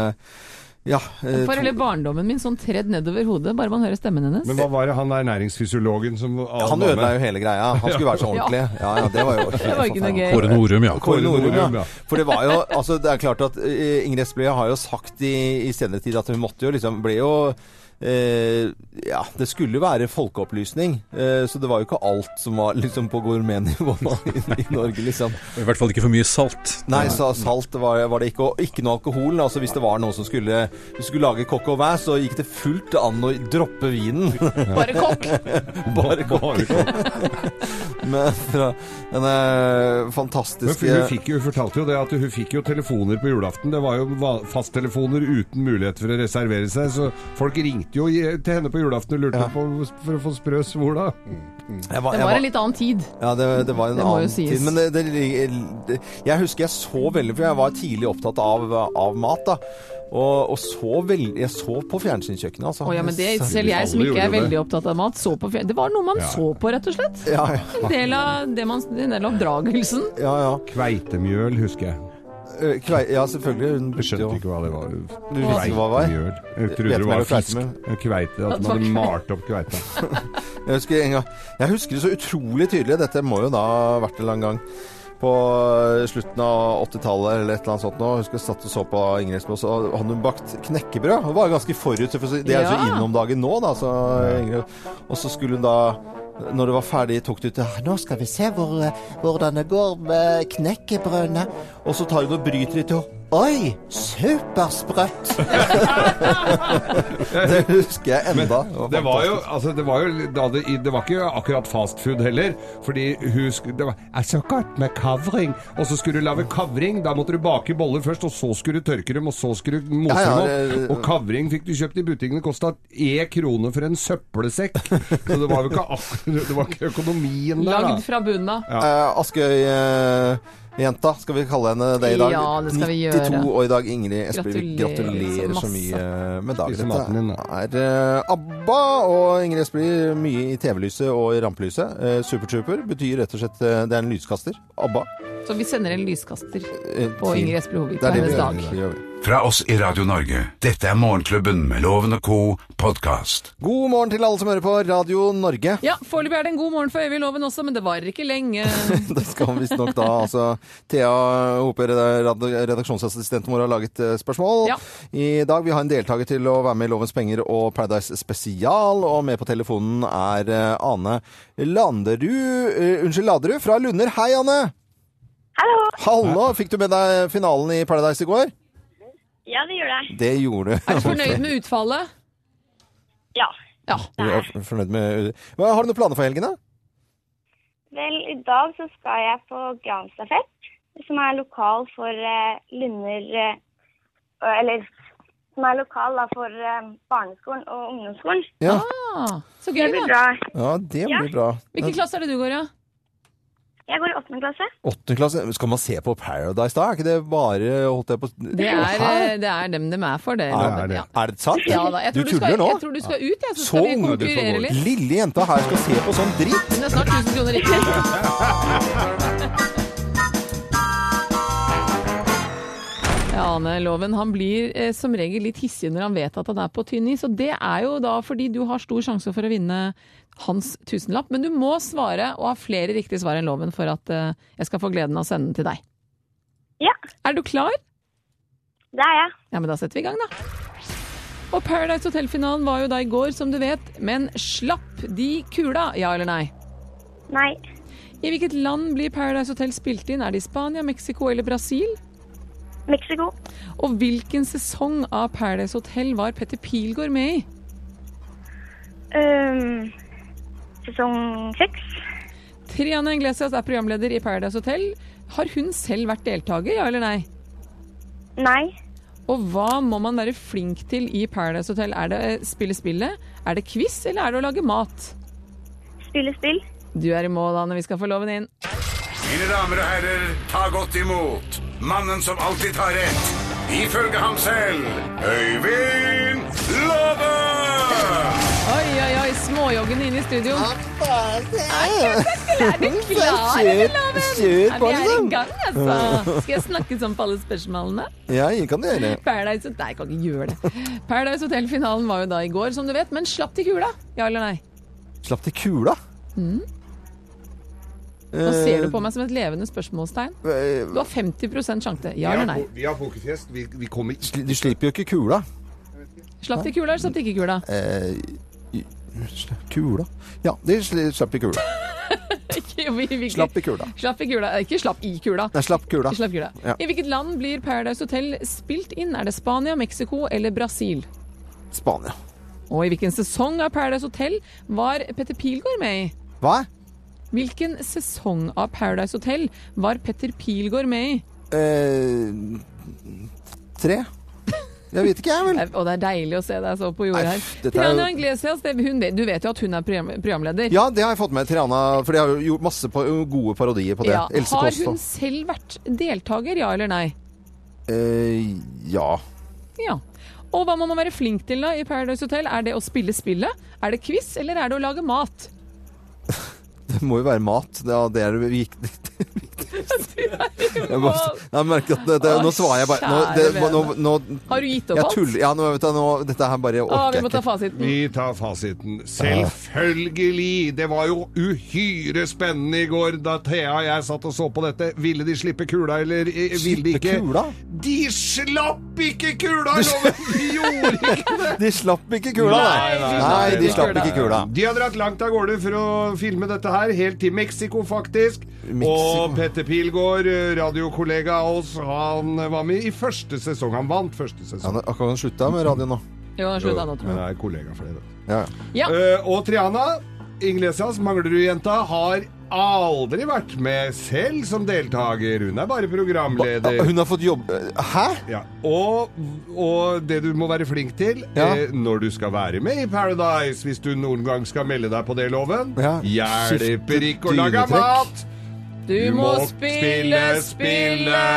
[SPEAKER 3] Ja. eh,
[SPEAKER 4] For hele barndommen min sånn tredd nedover hodet, bare man hører stemmen hennes.
[SPEAKER 6] Men hva var det han der næringsfysiologen som
[SPEAKER 3] to- han ødela jo hele greia. Han skulle være så
[SPEAKER 4] Ja.
[SPEAKER 3] ordentlig. Ja, ja, det var jo helt
[SPEAKER 4] Det var ikke noe
[SPEAKER 3] forferdelig.
[SPEAKER 4] gøy.
[SPEAKER 5] Kåre Norum, ja.
[SPEAKER 3] Kåre Norum, ja.
[SPEAKER 6] Norum, ja.
[SPEAKER 3] For det var jo altså Det er klart at eh, Ingrid Espelid har jo sagt i, i senere tid at hun måtte jo liksom Ble jo eh, ja, det skulle jo være folkeopplysning, eh, så det var jo ikke alt som var liksom på gourmetnivå i, i Norge, liksom.
[SPEAKER 5] I hvert fall ikke for mye salt.
[SPEAKER 3] Nei, sa salt var, var det ikke, og ikke noe alkohol. Altså Hvis det var noen som skulle, hvis du skulle lage kokk og vær, så gikk det fullt an å droppe vinen.
[SPEAKER 4] Bare kokk!
[SPEAKER 3] Bare kokk. Men fra denne
[SPEAKER 6] Men
[SPEAKER 3] fantastiske
[SPEAKER 6] hun, fikk jo, hun fortalte jo det at hun fikk jo telefoner på julaften. Det var jo va- fasttelefoner uten mulighet for å reservere seg, så folk ringte ringte jo i- til henne på julaften og lurte på for å få sprø svola.
[SPEAKER 3] Jeg
[SPEAKER 4] Det
[SPEAKER 3] jeg
[SPEAKER 4] var en litt annen tid.
[SPEAKER 3] Ja, det, det var en
[SPEAKER 4] Det må jo
[SPEAKER 3] annen
[SPEAKER 4] sies.
[SPEAKER 3] tid. Men det, det, det, jeg husker jeg så veldig, for jeg var tidlig opptatt av, av mat, da. Og, og så veldig Jeg så på fjernsynskjøkkenet, altså.
[SPEAKER 4] Å ja, men det,
[SPEAKER 3] Jeg-
[SPEAKER 4] selv jeg som
[SPEAKER 6] Alle
[SPEAKER 4] ikke er
[SPEAKER 6] gjorde det.
[SPEAKER 4] veldig opptatt av mat, så på fjern... Det var noe man så på, rett og slett.
[SPEAKER 3] ja, ja,
[SPEAKER 4] En del av, det man, en del av oppdragelsen.
[SPEAKER 3] ja, ja.
[SPEAKER 6] Kveitemjøl, husker jeg.
[SPEAKER 3] Eh, Kvei, ja, selvfølgelig. Hun
[SPEAKER 6] Jeg
[SPEAKER 3] brukte jo
[SPEAKER 6] skjønte ikke hva det var.
[SPEAKER 3] Du visste hva det var?
[SPEAKER 6] Kveitemjøl. Jeg trodde
[SPEAKER 3] Vet
[SPEAKER 6] det
[SPEAKER 3] mer
[SPEAKER 6] var
[SPEAKER 3] om
[SPEAKER 6] fisk.
[SPEAKER 3] kveitemjøl.
[SPEAKER 6] Kveite, at man hadde malt opp kveita.
[SPEAKER 3] Jeg husker, en gang, jeg husker det så utrolig tydelig. Dette må jo da ha vært en eller annen gang på eh, slutten av 80-tallet eller et eller annet sånt. Nå. Jeg husker jeg satt og så på Ingrid Espos, og hadde hun bakt knekkebrød. Hun var ganske forut. for Det er jo så
[SPEAKER 4] Ja.
[SPEAKER 3] innom dagen nå, da. Så Ingrid. Og så skulle hun da når det var ferdig, tok du til Nå skal vi se hvor, eh, hvordan det går med knekkebrødene. Og så tar hun og bryter i to. Oi, supersprøtt! det husker jeg enda.
[SPEAKER 6] Det var jo, altså, det var jo da det, det var ikke akkurat fast food heller. Fordi hun skulle Det var er så godt med kavring. Og så skulle du lage kavring. Da måtte du bake boller først, og så skulle du tørke dem, og så skulle du mose
[SPEAKER 3] Ja, ja,
[SPEAKER 6] dem
[SPEAKER 3] det-
[SPEAKER 6] opp. Og kavring fikk du kjøpt i butikken. Det kosta E kroner for en søppelsekk. Så det var jo ikke akkurat Det var ikke økonomien der,
[SPEAKER 4] Lagd
[SPEAKER 6] da.
[SPEAKER 4] fra bunnen av.
[SPEAKER 3] Eh, Askøy-jenta, skal vi kalle henne det i dag?
[SPEAKER 4] Ja, det skal vi gjøre.
[SPEAKER 3] 92 og i dag Ingrid Espelid.
[SPEAKER 4] Gratulerer
[SPEAKER 3] Gratulerer så
[SPEAKER 4] så
[SPEAKER 3] mye med dagen.
[SPEAKER 6] Spiser maten din, da.
[SPEAKER 3] Dette er eh, ABBA og Ingrid Espelid mye i TV-lyset og i rampelyset. Eh, Supertrooper betyr rett og slett eh, det er en lyskaster. ABBA.
[SPEAKER 4] Så vi sender en lyskaster
[SPEAKER 3] eh,
[SPEAKER 4] på
[SPEAKER 3] til-
[SPEAKER 4] Ingrid Espelid Hovig
[SPEAKER 3] Det
[SPEAKER 4] på
[SPEAKER 3] er det vi gjør.
[SPEAKER 4] hennes dag.
[SPEAKER 3] Det gjør vi.
[SPEAKER 2] Fra oss i Radio Norge. Dette er Morgenklubben med Loven og Co. podkast.
[SPEAKER 3] God morgen til alle som hører på Radio Norge.
[SPEAKER 4] Ja, foreløpig er det en god morgen for Øyvind Loven også, men det varer ikke lenge.
[SPEAKER 3] Det skal visstnok da altså Thea Hope, reda- redaksjonsassistenten vår, har laget eh, spørsmål.
[SPEAKER 4] Ja.
[SPEAKER 3] I dag vi har en deltaker til å være med i Lovens penger og Paradise spesial. Og med på telefonen er eh, Ane Landerud eh, Unnskyld, Laderud fra Lunder. Hei, Ane!
[SPEAKER 9] Hallo!
[SPEAKER 3] Hallo! Fikk du med deg finalen i Paradise i går?
[SPEAKER 9] Ja, det gjør jeg.
[SPEAKER 3] Det gjorde du.
[SPEAKER 4] Er du fornøyd med utfallet?
[SPEAKER 9] Ja.
[SPEAKER 4] Ja.
[SPEAKER 3] Du er fornøyd med Hva- Har du noen planer for helgen, da?
[SPEAKER 9] Vel, i dag så skal jeg på granstafett, som er lokal for eh, Lunder eh, Eller som er lokal da, for eh, barneskolen og ungdomsskolen.
[SPEAKER 3] Ja,
[SPEAKER 4] Ah, så
[SPEAKER 9] Det
[SPEAKER 4] gøy, da.
[SPEAKER 9] blir bra.
[SPEAKER 3] ja det
[SPEAKER 9] Ja.
[SPEAKER 3] blir bra.
[SPEAKER 4] Hvilken klasse er det du går i? Ja?
[SPEAKER 9] Jeg går i åttende klasse.
[SPEAKER 3] Åttende klasse? Skal man se på Paradise da? Er ikke det bare holdt jeg på
[SPEAKER 4] Det er,
[SPEAKER 3] Hæ?
[SPEAKER 4] eh, det er dem dem er for, det.
[SPEAKER 3] Er,
[SPEAKER 4] Loven.
[SPEAKER 3] det,
[SPEAKER 4] Ja.
[SPEAKER 3] er det sant?
[SPEAKER 4] Ja, da. Jeg
[SPEAKER 3] du
[SPEAKER 4] tror du,
[SPEAKER 3] tuller
[SPEAKER 4] skal,
[SPEAKER 3] nå?
[SPEAKER 4] jeg tror du skal ut, jeg, så
[SPEAKER 3] Så
[SPEAKER 4] skal vi
[SPEAKER 3] unge du
[SPEAKER 4] konkurrere litt.
[SPEAKER 3] Lille jenta her skal se på sånn dritt.
[SPEAKER 4] Men det er snart 1000 kroner riktig. Ja, Ane Loven han blir eh, som regel litt hissig når han vet at han er på tynn is. Og det er jo da fordi du har stor sjanse for å vinne hans tusenlapp. Men du må svare og ha flere riktige svar enn Loven for at eh, jeg skal få gleden av å sende den til deg.
[SPEAKER 9] Ja,
[SPEAKER 4] Er du klar?
[SPEAKER 9] det er jeg.
[SPEAKER 4] Ja, men da setter vi i gang, da. Og Paradise Hotel-finalen var jo da i går, som du vet. Men slapp de kula, ja eller nei?
[SPEAKER 9] Nei.
[SPEAKER 4] I hvilket land blir Paradise Hotel spilt inn? Er det i Spania, Mexico eller Brasil?
[SPEAKER 9] Mexico.
[SPEAKER 4] Og hvilken sesong av Paradise Hotel var Petter Pilgaard med i?
[SPEAKER 9] Øhm, Ehm, sesong seks.
[SPEAKER 4] Triana Iglesias er programleder i Paradise Hotel. Har hun selv vært deltaker, ja eller nei?
[SPEAKER 9] Nei.
[SPEAKER 4] Og hva må man være flink til i Paradise Hotel? Er det eh, spille spillet? Er det quiz, eller er det å lage mat?
[SPEAKER 9] Spille spill.
[SPEAKER 4] Du er i mål, Anne. Vi skal få loven inn.
[SPEAKER 2] Mine damer og herrer, ta godt imot mannen som alltid tar rett, ifølge ham selv, Øyvind Låve!
[SPEAKER 4] Oi, oi, oi. Småjoggende inn i studio.
[SPEAKER 3] Ah,
[SPEAKER 4] Er du klar,
[SPEAKER 3] Shit,
[SPEAKER 4] eller, Loven?
[SPEAKER 3] shit,
[SPEAKER 4] Ja,
[SPEAKER 3] på
[SPEAKER 4] vi er i
[SPEAKER 3] liksom.
[SPEAKER 4] gang, altså. Skal jeg snakke sånn på alle spørsmålene?
[SPEAKER 3] Ja, jeg kan det gjøre.
[SPEAKER 4] Paradise Hotel Nei, jeg kan ikke gjøre det. Paradise Hotel-finalen var jo da i går, som du vet, men slapp til kula. Ja eller nei?
[SPEAKER 3] Slapp til kula. Eh,
[SPEAKER 4] Nå ser Mm. du på meg som et levende spørsmålstegn. Du har 50 sjanse. Ja eller nei?
[SPEAKER 6] Vi har pokerfjes. Vi, vi kommer ikke
[SPEAKER 3] Du slipper jo ikke kula.
[SPEAKER 4] Slapp til kula eller slapp til ikke kula?
[SPEAKER 3] Eh, Kula? Ja, de sli- slapp i kula.
[SPEAKER 4] Ikke- vi- vi-
[SPEAKER 3] Slapp i kula.
[SPEAKER 4] Slapp i kula. Eh, Ikke slapp i kula.
[SPEAKER 3] Nei, slapp kula.
[SPEAKER 4] Slapp kula.
[SPEAKER 3] Ja.
[SPEAKER 4] I hvilket land blir Paradise Hotel spilt inn? Er det Spania, Mexico eller Brasil?
[SPEAKER 3] Spania.
[SPEAKER 4] Og i hvilken sesong av Paradise Hotel var Petter Pilgaard med i?
[SPEAKER 3] Hva?
[SPEAKER 4] Hvilken sesong av Paradise Hotel var Petter Pilgaard med i?
[SPEAKER 3] Eh, tre? Jeg vet ikke, jeg vel.
[SPEAKER 4] Og det er deilig å se deg så på jordet her.
[SPEAKER 3] Nei, dette er jo-
[SPEAKER 4] Triana Iglesias, det, hun, vet- du vet jo at hun er program, programleder.
[SPEAKER 3] Ja, det har jeg fått med Triana, for de har jo gjort masse pa- gode parodier på det.
[SPEAKER 4] Ja.
[SPEAKER 3] Else
[SPEAKER 4] Har
[SPEAKER 3] Kåss
[SPEAKER 4] hun
[SPEAKER 3] og-
[SPEAKER 4] selv vært deltaker, ja eller nei?
[SPEAKER 3] Eh, ja.
[SPEAKER 4] Ja. Og hva må man være flink til da i Paradise Hotel? Er det å spille spillet? Er det quiz, eller er det å lage mat?
[SPEAKER 3] Det må jo være mat. Ja, det er det viktig. Jeg, bare, jeg merker at det, det, nå
[SPEAKER 4] Å,
[SPEAKER 3] svarer jeg bare Nå, det,
[SPEAKER 4] kjære
[SPEAKER 3] nå, nå,
[SPEAKER 4] Har du gitt opp
[SPEAKER 3] jeg
[SPEAKER 4] alt?
[SPEAKER 3] tuller. Ja, nå, vet du, nå, dette her bare
[SPEAKER 4] Å,
[SPEAKER 3] orker
[SPEAKER 4] vi
[SPEAKER 3] jeg
[SPEAKER 4] må ta
[SPEAKER 3] ikke.
[SPEAKER 4] fasiten.
[SPEAKER 6] Vi tar fasiten. Selvfølgelig! Det var jo uhyre spennende i går da Thea og jeg satt og så på dette. Ville de slippe kula, eller eh, ville de
[SPEAKER 3] Slippe
[SPEAKER 6] ikke?
[SPEAKER 3] kula?
[SPEAKER 6] De slapp ikke kula, Loven! De gjorde ikke det!
[SPEAKER 3] De slapp ikke kula, nei.
[SPEAKER 6] Nei, de slapp
[SPEAKER 3] Nei, de
[SPEAKER 6] ikke
[SPEAKER 3] slapp
[SPEAKER 4] kula.
[SPEAKER 3] ikke kula.
[SPEAKER 6] De har dratt langt av gårde for å filme dette her, helt til Mexico, faktisk.
[SPEAKER 3] Mexico.
[SPEAKER 6] Og Petter Pilgaard, eh, radiokollega av oss, han var med i første sesong. Han vant første
[SPEAKER 3] Ja,
[SPEAKER 6] sesong.
[SPEAKER 3] nå- kan han slutte med radio nå?
[SPEAKER 4] Jo, han slutta nå, tror
[SPEAKER 6] Men
[SPEAKER 4] jeg.
[SPEAKER 6] det er kollega for det, vet du.
[SPEAKER 3] Ja, ja.
[SPEAKER 4] Ja.
[SPEAKER 6] Eh, og Triana Inglesias, Manglerud-jenta, har aldri vært med selv som deltaker. Hun er bare programleder.
[SPEAKER 3] Hun har fått jobb Hæ?
[SPEAKER 6] Ja. Og, og det du må være flink til
[SPEAKER 3] Ja.
[SPEAKER 6] eh, når du skal være med i Paradise, hvis du noen gang skal melde deg på det, loven
[SPEAKER 3] Ja, skifte
[SPEAKER 6] Hjelper ikke å lage
[SPEAKER 3] dynetrekk.
[SPEAKER 6] mat!
[SPEAKER 4] Du må spille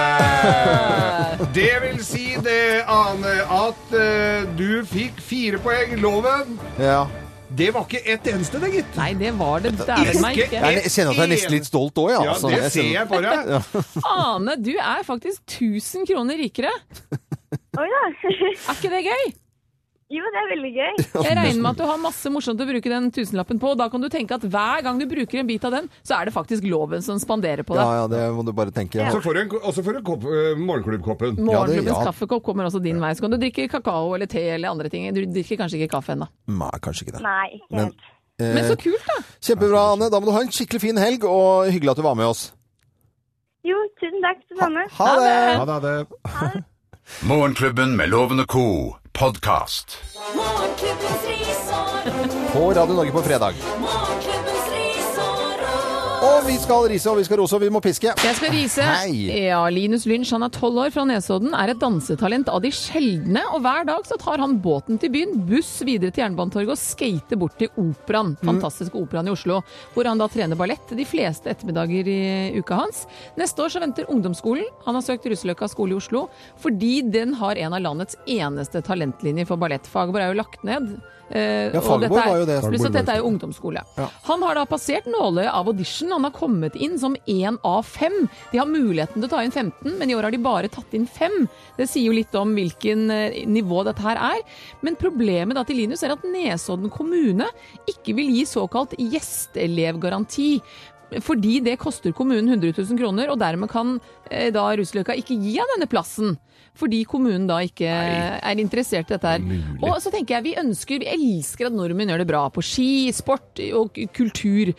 [SPEAKER 4] spillet!
[SPEAKER 6] Det vil si det, Ane, at eh, du fikk fire poeng. Loven,
[SPEAKER 3] Ja.
[SPEAKER 6] det var ikke ett eneste, det, gitt.
[SPEAKER 4] Nei, det var det dæven meg
[SPEAKER 6] Ikke-
[SPEAKER 4] ikke.
[SPEAKER 3] Jeg kjenner at jeg er nesten litt stolt òg, ja.
[SPEAKER 6] Ja,
[SPEAKER 3] altså.
[SPEAKER 6] det
[SPEAKER 3] Jeg
[SPEAKER 6] ser
[SPEAKER 3] kjenner-
[SPEAKER 6] jeg på deg.
[SPEAKER 4] Ane, du er faktisk 1000 kroner rikere.
[SPEAKER 9] Å ja.
[SPEAKER 4] Er ikke det gøy?
[SPEAKER 9] Jo, det er veldig gøy.
[SPEAKER 4] Jeg regner med at du har masse morsomt å bruke den tusenlappen på. og Da kan du tenke at hver gang du bruker en bit av den, så er det faktisk loven som spanderer på
[SPEAKER 3] Ja, ja,
[SPEAKER 4] deg.
[SPEAKER 3] det må du bare tenke.
[SPEAKER 6] Så får du en, og så får du kopp, eh, morgenklubbkoppen.
[SPEAKER 3] Ja, det-
[SPEAKER 4] Morgenklubbens
[SPEAKER 3] ja.
[SPEAKER 4] kaffekopp kommer også din vei. Så kan du drikke kakao eller te eller andre ting. Du drikker kanskje ikke kaffe ennå.
[SPEAKER 3] Nei, kanskje ikke det.
[SPEAKER 9] Nei, ikke helt.
[SPEAKER 3] Eh,
[SPEAKER 4] Men så kult, da!
[SPEAKER 3] Kjempebra, Anne. Da må du ha en skikkelig fin helg, og hyggelig at du var med oss.
[SPEAKER 9] Jo, tusen takk, det samme.
[SPEAKER 3] Ha det!
[SPEAKER 6] Ja, da, det.
[SPEAKER 2] Morgenklubben med Loven og Co. podkast.
[SPEAKER 1] Morgenklubbens risår.
[SPEAKER 3] På Radio Norge på fredag.
[SPEAKER 1] Morgenklubbens risår.
[SPEAKER 3] Og vi skal rise, og vi skal rose, og vi må piske.
[SPEAKER 4] Jeg skal rise.
[SPEAKER 3] Hei.
[SPEAKER 4] Ja, Linus Lynch, han er tolv år fra Nesodden, er et dansetalent av de sjeldne. Og hver dag så tar han båten til byen, buss videre til Jernbanetorget og skater bort til operaen. Fantastiske operaen i Oslo, hvor han da trener ballett de fleste ettermiddager i uka hans. Neste år så venter ungdomsskolen. Han har søkt Russeløkka skole i Oslo fordi den har en av landets eneste talentlinjer for ballett. Fagerborg er jo lagt ned. eh,
[SPEAKER 3] Ja,
[SPEAKER 4] og dette
[SPEAKER 3] Fagerborg
[SPEAKER 4] er-
[SPEAKER 3] var jo det.
[SPEAKER 4] Pluss at dette er jo ungdomsskole. Han har da passert nåløyet av audition. Han har kommet inn som én av fem. De har muligheten til å ta inn 15, men i år har de bare tatt inn fem. Det sier jo litt om hvilken eh, nivå dette her er. Men problemet da til Linus er at Nesodden kommune ikke vil gi såkalt gjesteelevgaranti. Fordi det koster kommunen 100 000 kroner, og dermed kan eh, da Ruseløkka ikke gi han denne plassen. Fordi kommunen da ikke er interessert i dette her. Og så tenker jeg, vi ønsker, vi elsker at nordmenn gjør det bra på ski, sport og k- kultur.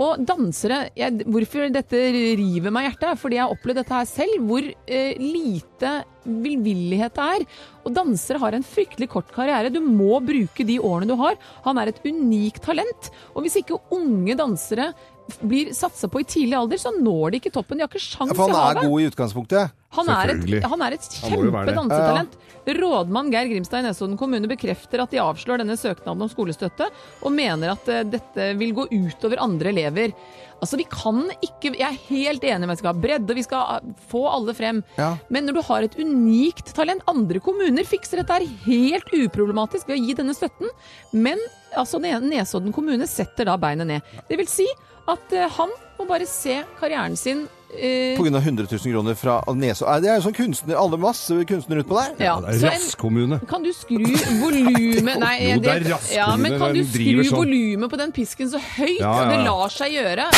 [SPEAKER 4] Og dansere, jeg, hvorfor dette river meg i hjertet, er fordi jeg har opplevd dette her selv, hvor eh, lite velvillighet det er. Og dansere har en fryktelig kort karriere, du må bruke de årene du har. Han er et unikt talent, og hvis ikke unge dansere f- blir satsa på i tidlig alder, så når de ikke toppen. De har ikke sjans
[SPEAKER 3] For han
[SPEAKER 4] i
[SPEAKER 3] er
[SPEAKER 4] havet.
[SPEAKER 3] god i utgangspunktet.
[SPEAKER 4] Han er, et,
[SPEAKER 6] Selvfølgelig.
[SPEAKER 4] han er et
[SPEAKER 6] Han må jo være det.
[SPEAKER 4] kjempedansetalent. Rådmann Geir Grimstad i Nesodden kommune bekrefter at de avslår denne søknaden om skolestøtte, og mener at eh, dette vil gå utover andre elever. Altså, vi kan ikke Jeg er helt enig med at vi skal ha bredde, og vi skal eh, få alle frem.
[SPEAKER 3] Ja.
[SPEAKER 4] Men når du har et unikt talent Andre kommuner fikser dette her helt uproblematisk ved å gi denne støtten. Men altså, Ne- Nesodden kommune setter da beinet ned. Det vil si at eh, han må bare se karrieren sin eh,
[SPEAKER 3] På grunn av 100 000 kroner fra Neso. Nei, Det er jo sånn kunstner, alle masse kunstnere utpå der.
[SPEAKER 4] ja.
[SPEAKER 6] Det er
[SPEAKER 4] Så en-
[SPEAKER 6] Rasskommune.
[SPEAKER 4] Kan du skru volumet Nei,
[SPEAKER 6] Jo, det er raskere
[SPEAKER 4] ja, men
[SPEAKER 6] når
[SPEAKER 4] kan du
[SPEAKER 6] den driver
[SPEAKER 4] skru
[SPEAKER 6] sånn.
[SPEAKER 4] volumet på den pisken så høyt
[SPEAKER 6] Ja, ja,
[SPEAKER 4] det
[SPEAKER 6] ja.
[SPEAKER 4] lar seg gjøre?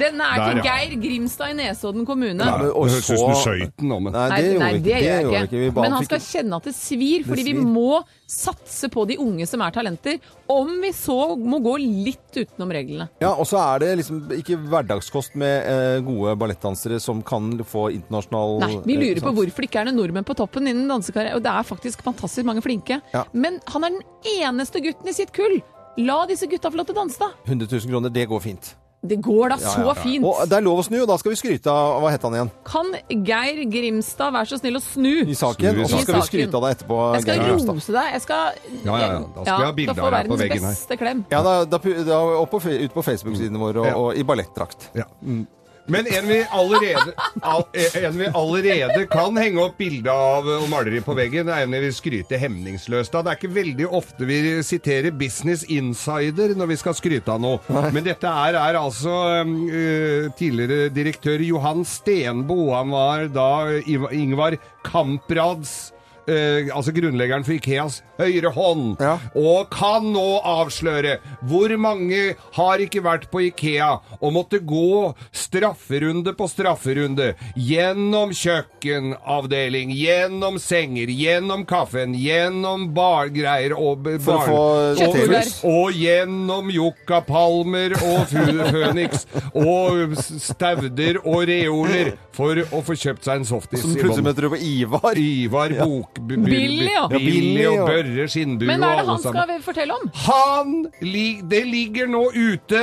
[SPEAKER 4] Den er
[SPEAKER 6] Der,
[SPEAKER 4] til
[SPEAKER 6] ja.
[SPEAKER 4] Geir Grimstad i Nesodden kommune.
[SPEAKER 3] Ja, men- og
[SPEAKER 6] det høres ut som du
[SPEAKER 3] så-
[SPEAKER 6] skøyt den nå, men
[SPEAKER 3] Nei, det gjorde vi ikke. Det gjorde vi ikke. Vi bare
[SPEAKER 4] Men han
[SPEAKER 3] fikk-
[SPEAKER 4] skal kjenne at det svir, fordi vi
[SPEAKER 3] svir.
[SPEAKER 4] må satse på de unge som er talenter. Om vi så må gå litt utenom reglene.
[SPEAKER 3] Ja, og så er det liksom ikke hverdagskost med eh, gode ballettdansere som kan få internasjonal
[SPEAKER 4] Nei, vi lurer på
[SPEAKER 3] eh,
[SPEAKER 4] hvorfor det ikke er noen nordmenn på toppen innen dansekarriere, og det er faktisk fantastisk mange flinke.
[SPEAKER 3] Ja.
[SPEAKER 4] Men han er den eneste gutten i sitt kull! La disse gutta få lov til å danse, da!
[SPEAKER 3] 100 000 kroner, det går fint.
[SPEAKER 4] Det går da så fint!
[SPEAKER 3] Og det er lov å snu, og da skal vi skryte av Hva het han igjen?
[SPEAKER 4] Kan Geir Grimstad være så snill å snu?
[SPEAKER 3] I saken. Og så
[SPEAKER 4] I
[SPEAKER 3] skal vi
[SPEAKER 4] saken.
[SPEAKER 3] skryte av deg etterpå.
[SPEAKER 4] Jeg skal
[SPEAKER 3] Geir Grimstad.
[SPEAKER 4] rose deg. Jeg skal
[SPEAKER 6] Ja, ja, ja. Da skal vi ha bilder
[SPEAKER 4] da får
[SPEAKER 6] av deg på
[SPEAKER 4] verdens
[SPEAKER 6] veggen her.
[SPEAKER 4] beste klem.
[SPEAKER 3] Ja, da, da, pu- da, opp på, fe- ut på Facebook-sidene våre og,
[SPEAKER 6] Ja.
[SPEAKER 3] og i ballettdrakt.
[SPEAKER 6] Ja. mm. Men en vi, allerede, al, eh, en vi allerede kan henge opp bilde av eh, og maleri på veggen, er en vi vil skryte hemningsløst av. Det er ikke veldig ofte vi siterer Business Insider når vi skal skryte av noe. Men dette er, er altså um, eh, tidligere direktør Johan Stenbo. Han var da Iva- Ingvar Kamprads eh, altså grunnleggeren for Ikeas høyre hånd,
[SPEAKER 3] Ja.
[SPEAKER 6] og kan nå avsløre hvor mange har ikke vært på Ikea og måtte gå strafferunde på strafferunde gjennom kjøkkenavdeling, gjennom senger, gjennom kaffen, gjennom bargreier og b-
[SPEAKER 3] For å
[SPEAKER 6] barn-
[SPEAKER 3] få
[SPEAKER 6] og-
[SPEAKER 4] tefus.
[SPEAKER 6] Og gjennom Yucca-palmer og fu- Phoenix og stauder og reoler for å få kjøpt seg en softis.
[SPEAKER 3] Som
[SPEAKER 6] i
[SPEAKER 3] plutselig
[SPEAKER 6] bånn.
[SPEAKER 3] møter du på Ivar.
[SPEAKER 6] Ivar Bok... B- b-
[SPEAKER 4] Billy, ja.
[SPEAKER 6] Billy,
[SPEAKER 3] Billy, ja.
[SPEAKER 6] og Børre Skinnbue
[SPEAKER 4] Men hva er det
[SPEAKER 6] og alle
[SPEAKER 4] han
[SPEAKER 6] sammen.
[SPEAKER 4] skal fortelle om?
[SPEAKER 6] Han lig- Det ligger nå ute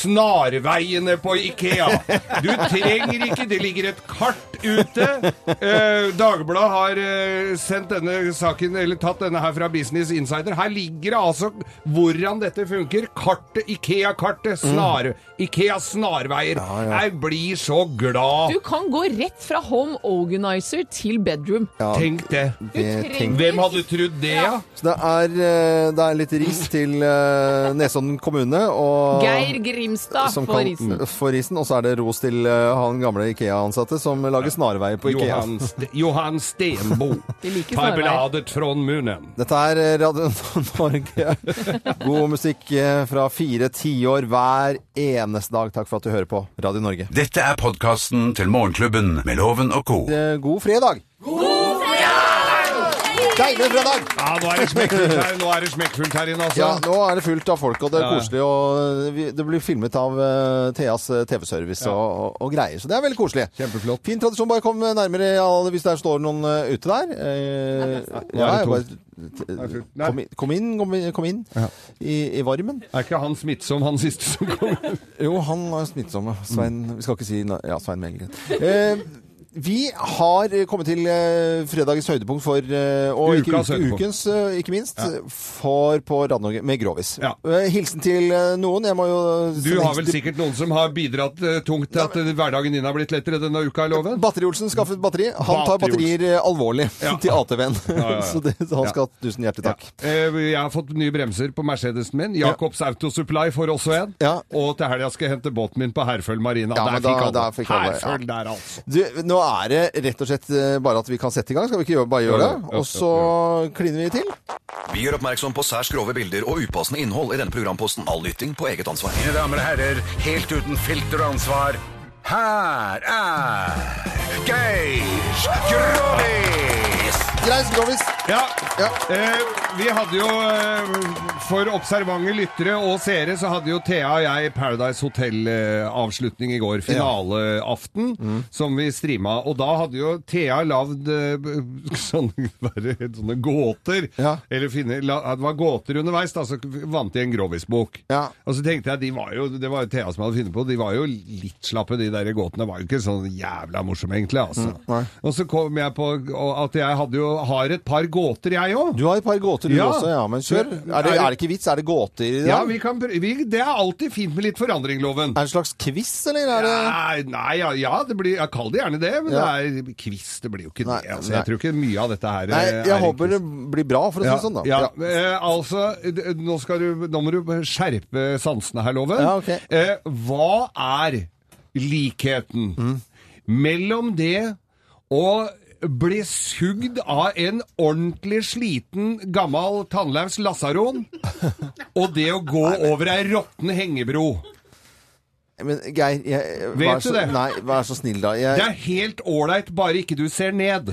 [SPEAKER 6] Snarveiene på Ikea. Du trenger ikke Det ligger et kart ute. Eh, Dagbladet har eh, sendt denne saken, eller tatt denne her fra Business Insider. Her ligger det altså hvordan dette funker. Kartet, Ikea-kartet,
[SPEAKER 3] Mm.
[SPEAKER 6] snar, Ikeas snarveier. Jeg blir så glad.
[SPEAKER 4] Du kan gå rett fra home organizer til bedroom.
[SPEAKER 6] Tenk det.
[SPEAKER 4] Du
[SPEAKER 3] Det tenk-
[SPEAKER 4] trenger
[SPEAKER 6] Hvem hadde trodd det, ja?
[SPEAKER 3] Så det er, eh, det er litt ris til eh, Nesodden kommune. Og
[SPEAKER 4] Geir Grimstad
[SPEAKER 3] som
[SPEAKER 4] for
[SPEAKER 3] kan-
[SPEAKER 6] Mm.
[SPEAKER 4] risen.
[SPEAKER 3] for risen. Og så er det ros til eh, han gamle Ikea-ansatte som lager snarveier på Ikea.
[SPEAKER 6] Johan, Ste Johan Stenbo.
[SPEAKER 4] Vi liker
[SPEAKER 6] Tar
[SPEAKER 4] snarveier.
[SPEAKER 6] bladet fra munnen.
[SPEAKER 3] Dette er eh, Radio Norge. God musikk eh, fra fire tiår hver eneste dag. Takk for at du hører på Radio Norge.
[SPEAKER 2] Dette er podkasten til Morgenklubben med Loven og co.
[SPEAKER 3] Eh, God fredag! God fredag! Deilig fredag!
[SPEAKER 6] Ja, nå er det smekkfullt her, nå er det smekkfullt her inne, altså.
[SPEAKER 3] Ja, nå er det fullt av folk, og det er
[SPEAKER 6] Ja.
[SPEAKER 3] koselig. Og eh, vi- det blir filmet av eh, Theas eh, TV-service og, og, og greier, så det er veldig koselig.
[SPEAKER 6] Kjempeflott.
[SPEAKER 3] Fin tradisjon. Bare kom eh, nærmere alle hvis det er- står noen eh, ute der. Eh,
[SPEAKER 6] Nå er det
[SPEAKER 3] bare-
[SPEAKER 6] er fullt. Nei.
[SPEAKER 3] Kom inn, kom inn, kom inn, kom inn i, i varmen.
[SPEAKER 6] Er ikke han smittsom, han siste som kom?
[SPEAKER 3] Jo, han var smittsom. ja. Svein, Vi skal ikke si na- ja, Svein Melgren. Eh, vi har eh, kommet til eh, fredagens høydepunkt for eh, Og ikke,
[SPEAKER 6] Ukas
[SPEAKER 3] uke-
[SPEAKER 6] høydepunkt.
[SPEAKER 3] ukens, eh, ikke minst. For på Radio Norge med Grovis.
[SPEAKER 6] Ja.
[SPEAKER 3] Eh, hilsen til eh, noen. Jeg må jo eh,
[SPEAKER 6] Du har vel sikkert noen som har bidratt eh, tungt til at eh, hverdagen din har blitt lettere denne uka, er loven?
[SPEAKER 3] Batteri-Olsen skaffet batteri. Han tar
[SPEAKER 6] Batteri-Olsen.
[SPEAKER 3] batterier eh, alvorlig
[SPEAKER 6] Ja.
[SPEAKER 3] til ATV-en.
[SPEAKER 6] ja, ja.
[SPEAKER 3] Så det, han skal ha tusen hjertelig takk.
[SPEAKER 6] Ja. Eh, Jeg har fått nye bremser på Mercedesen min. Jacobs Auto Supply får også en.
[SPEAKER 3] Ja.
[SPEAKER 6] Og til helga skal jeg hente båten min på Herføl Marina.
[SPEAKER 3] Ja,
[SPEAKER 6] der,
[SPEAKER 3] men da-
[SPEAKER 6] fikk alle.
[SPEAKER 3] der fikk alle, ja.
[SPEAKER 6] Herføl der, altså.
[SPEAKER 3] Du, nå er det rett og slett eh, bare at vi kan sette i gang. Skal vi ikke gjøre, bare gjøre
[SPEAKER 6] Ja, ja,
[SPEAKER 3] det?
[SPEAKER 6] ja,
[SPEAKER 3] Og så kliner vi til.
[SPEAKER 11] Vi gjør oppmerksom på særs grove bilder og upassende innhold i denne programposten. All lytting på eget ansvar.
[SPEAKER 2] Mine damer og herrer, helt uten filter og ansvar, her er Geir Grovis!
[SPEAKER 3] Greis Grovis.
[SPEAKER 6] Ja.
[SPEAKER 3] Ja.
[SPEAKER 6] Eh, vi hadde jo, eh, for observante lyttere og seere, så hadde jo Thea og jeg Paradise Hotel-avslutning i går. Finaleaften,
[SPEAKER 3] Mm.
[SPEAKER 6] som vi streama. Og da hadde jo Thea lagd eh, b- sånne, bare sånne gåter.
[SPEAKER 3] Ja.
[SPEAKER 6] Eller finne, la, det var gåter underveis, da, så vant de en Grovis-bok.
[SPEAKER 3] Ja.
[SPEAKER 6] Og så tenkte jeg, de var jo, det var jo Thea som hadde funnet på, de var jo litt slappe, de der gåtene var jo ikke sånn jævla morsomme egentlig, altså.
[SPEAKER 3] Mm, nei.
[SPEAKER 6] og så kom jeg på og at jeg hadde jo, har et par gåter jeg også.
[SPEAKER 3] Du har et par gåter du
[SPEAKER 6] Ja.
[SPEAKER 3] også, ja, men kjør. Er det, er det ikke vits? Er det gåter i det?
[SPEAKER 6] Ja, vi kan, prø- vi, det er alltid fint med litt forandring, loven.
[SPEAKER 3] Er det en slags quiz, eller er det
[SPEAKER 6] Nei, nei, ja, ja det blir, jeg kaller det gjerne det, men
[SPEAKER 3] Ja.
[SPEAKER 6] det er quiz, det blir jo ikke
[SPEAKER 3] Nei,
[SPEAKER 6] det. Altså,
[SPEAKER 3] nei.
[SPEAKER 6] jeg tror ikke mye av dette her
[SPEAKER 3] Nei,
[SPEAKER 6] eh, er
[SPEAKER 3] jeg
[SPEAKER 6] en
[SPEAKER 3] håper
[SPEAKER 6] quiz.
[SPEAKER 3] det blir bra, for å si det sånn, da.
[SPEAKER 6] Ja, Eh, altså, d- nå, skal du, nå må du skjerpe sansene her, Loven.
[SPEAKER 3] Ja, ok.
[SPEAKER 6] eh, hva er likheten mellom det å bli sugd av en ordentlig sliten, gammel tannlaus lasaron og det å gå over ei råtten hengebro?
[SPEAKER 3] Men Geir, jeg,
[SPEAKER 6] Vet
[SPEAKER 3] vær
[SPEAKER 6] du
[SPEAKER 3] så,
[SPEAKER 6] det?
[SPEAKER 3] Nei, vær så snill, da.
[SPEAKER 6] Det
[SPEAKER 3] Jeg,
[SPEAKER 6] er helt ålreit, bare ikke du ser ned.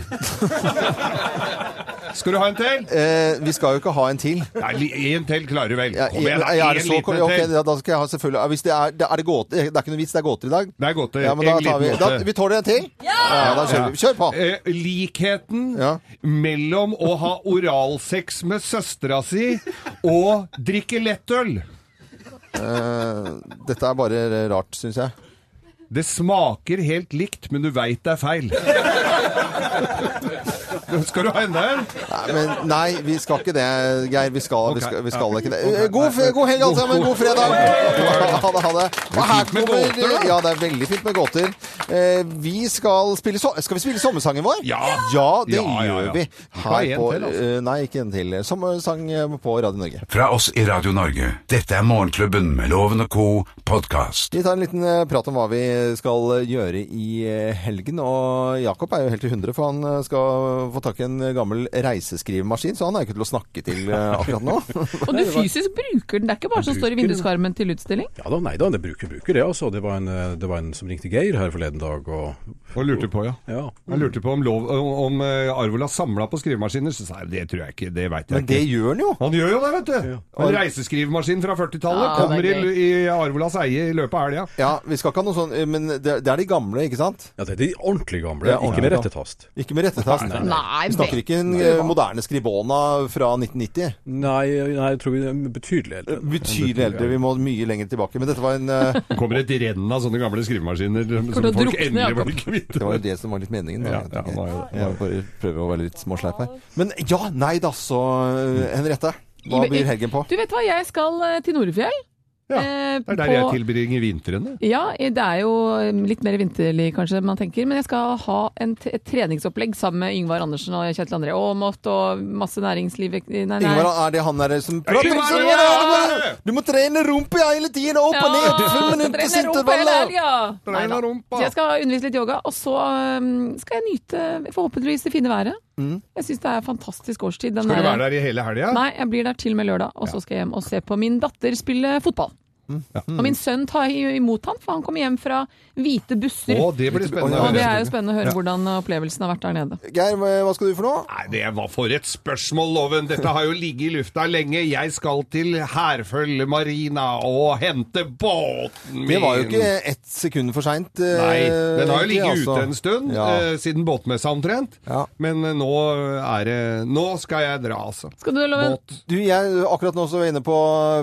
[SPEAKER 6] Skal du ha en til?
[SPEAKER 3] eh, vi skal jo ikke ha en til.
[SPEAKER 6] Nei, li- en til klarer du vel.
[SPEAKER 3] Ja,
[SPEAKER 6] Kom igjen, da.
[SPEAKER 3] er det
[SPEAKER 6] en
[SPEAKER 3] så-
[SPEAKER 6] liten en
[SPEAKER 3] ok,
[SPEAKER 6] til.
[SPEAKER 3] ja, da skal jeg ha selvfølgelig ja, hvis det, er, det, er det, gåter, det er ikke noe vits, det er gåter i dag.
[SPEAKER 6] Det er gåter.
[SPEAKER 3] Ja, men da
[SPEAKER 6] En
[SPEAKER 3] tar vi,
[SPEAKER 6] liten
[SPEAKER 3] da,
[SPEAKER 6] gåte.
[SPEAKER 3] vi tåler en til? Ja! da kjører vi. Kjør på.
[SPEAKER 6] Eh, likheten
[SPEAKER 3] Ja.
[SPEAKER 6] mellom å ha oralsex med søstera si og drikke lettøl.
[SPEAKER 3] Eh, dette er bare rart, syns jeg.
[SPEAKER 6] Det smaker helt likt, men du veit det er feil. Skal du ha enda en?
[SPEAKER 3] Nei, men, nei, vi skal ikke det, Geir. Vi skal, vi skal, vi skal ikke det.
[SPEAKER 6] Ok.
[SPEAKER 3] Eh, God, f- god helg, alle sammen. God fredag. Ha det, ha det. Og her
[SPEAKER 6] fint med gåter,
[SPEAKER 3] kommer
[SPEAKER 6] da.
[SPEAKER 3] Ja, det er veldig fint med gåter. Eh, Vi skal spille so- Skal vi spille sommersangen vår?
[SPEAKER 6] Ja.
[SPEAKER 3] Ja, det
[SPEAKER 6] Ja, ja, ja.
[SPEAKER 3] gjør vi.
[SPEAKER 6] Ikke ha en
[SPEAKER 3] på
[SPEAKER 6] til, altså.
[SPEAKER 3] eh, Nei, ikke en til. Sommersang eh, på Radio Norge.
[SPEAKER 2] Fra oss i Radio Norge, dette er Morgenklubben med Loven og Co. podkast.
[SPEAKER 3] Vi tar en liten eh, prat om hva vi skal eh, gjøre i eh, helgen. Og Jakob er jo helt i hundre, for han eh, skal få tak i en eh, gammel reiseskrivemaskin. Så han er jo ikke til å snakke til eh, akkurat nå.
[SPEAKER 4] Og du fysisk bruker den, det er ikke bare som står i
[SPEAKER 7] bruker den.
[SPEAKER 4] vinduskarmen til utstilling?
[SPEAKER 7] Ja da, nei da, det bruker, bruker det altså. Det var, en, eh, det var en som ringte Geir her forleden dag og
[SPEAKER 6] Og lurte på, ja.
[SPEAKER 7] Ja.
[SPEAKER 6] Jeg lurte på om, lov, om, om eh, Arvola samla på skrivemaskiner. Så sa jeg det tror jeg ikke, det veit jeg
[SPEAKER 3] Men det
[SPEAKER 6] ikke.
[SPEAKER 3] gjør han jo.
[SPEAKER 6] Han gjør jo det, vet du! En reiseskrivemaskin fra 40-tallet
[SPEAKER 4] Ja,
[SPEAKER 6] kommer
[SPEAKER 4] det
[SPEAKER 6] i,
[SPEAKER 4] er
[SPEAKER 6] i Arvolas eie i løpet av helga.
[SPEAKER 3] Ja, vi skal ikke ha noe sånn, men det, det er de gamle, ikke sant?
[SPEAKER 7] Ja, det er de ordentlig gamle,
[SPEAKER 3] Det er
[SPEAKER 7] ikke med
[SPEAKER 3] ordentlig,
[SPEAKER 7] rettetast.
[SPEAKER 3] Ikke med rettetast.
[SPEAKER 4] nei, nei.
[SPEAKER 3] vi snakker ikke en eh, moderne Scribona fra 1990.
[SPEAKER 7] Nei, nei, jeg tror vi er betydelig eldre.
[SPEAKER 3] Betydelig eldre. Vi må mye lenger tilbake. Men dette var en eh,
[SPEAKER 6] Det kommer et renn av sånne gamle skrivemaskiner som
[SPEAKER 4] til å
[SPEAKER 6] folk
[SPEAKER 4] drukne,
[SPEAKER 6] endelig
[SPEAKER 4] Jakob.
[SPEAKER 6] blir kvitt.
[SPEAKER 3] Det var jo det som var litt meningen. da.
[SPEAKER 6] Ja, ja, det var jo det.
[SPEAKER 3] Jeg bare prøver å være litt småsleip her. Men ja, nei da, så eh, Henriette. Hva
[SPEAKER 4] I-
[SPEAKER 3] blir helgen på?
[SPEAKER 4] Du vet hva, jeg skal eh, til Norefjell.
[SPEAKER 6] Ja,
[SPEAKER 4] Eh,
[SPEAKER 6] Det er der jeg tilbringer vintrene.
[SPEAKER 4] Ja, det er jo um, litt mer vinterlig kanskje man tenker, men jeg skal ha en t et treningsopplegg sammen med Yngvar Andersen og Kjetil André Aamodt og masse næringsliv Nei, nei.
[SPEAKER 3] Ingvar, er det han der som prater
[SPEAKER 6] Ingvar,
[SPEAKER 3] sånn?
[SPEAKER 6] ja!
[SPEAKER 3] Du må trene rumpa hele tiden, opp og ned! Fem minutter
[SPEAKER 4] trener rumpa
[SPEAKER 3] intervall.
[SPEAKER 4] hele helga! Nei
[SPEAKER 6] Trener
[SPEAKER 4] da.
[SPEAKER 6] rumpa.
[SPEAKER 4] Så jeg skal undervise litt yoga, og så um, skal jeg nyte forhåpentligvis det fine været. Jeg syns det er fantastisk årstid. Den
[SPEAKER 6] Skal du
[SPEAKER 4] der-
[SPEAKER 6] være der i hele helga?
[SPEAKER 4] Nei, jeg blir der til og med lørdag, og så skal jeg hjem og se på min datter spille fotball. Og min sønn tar i- imot han, for han kommer hjem fra hvite busser.
[SPEAKER 6] Å, det blir spennende.
[SPEAKER 4] og det er jo spennende å høre hvordan opplevelsen har vært der nede.
[SPEAKER 3] Geir, hva skal du for noe?
[SPEAKER 6] Nei, det var for et spørsmål, Loven. Dette har jo ligget i lufta lenge. Jeg skal til Herfølgemarina og hente båten min.
[SPEAKER 3] Det var jo ikke ett sekund for seint.
[SPEAKER 6] Nei, den har jo ligget ute en stund,
[SPEAKER 3] altså. Ja.
[SPEAKER 6] eh, siden båtmessa omtrent.
[SPEAKER 3] Ja.
[SPEAKER 6] Men eh, nå er det Nå skal jeg dra, altså.
[SPEAKER 4] Skal du, Loven?
[SPEAKER 6] Båt.
[SPEAKER 3] Du, jeg, akkurat nå så var jeg inne på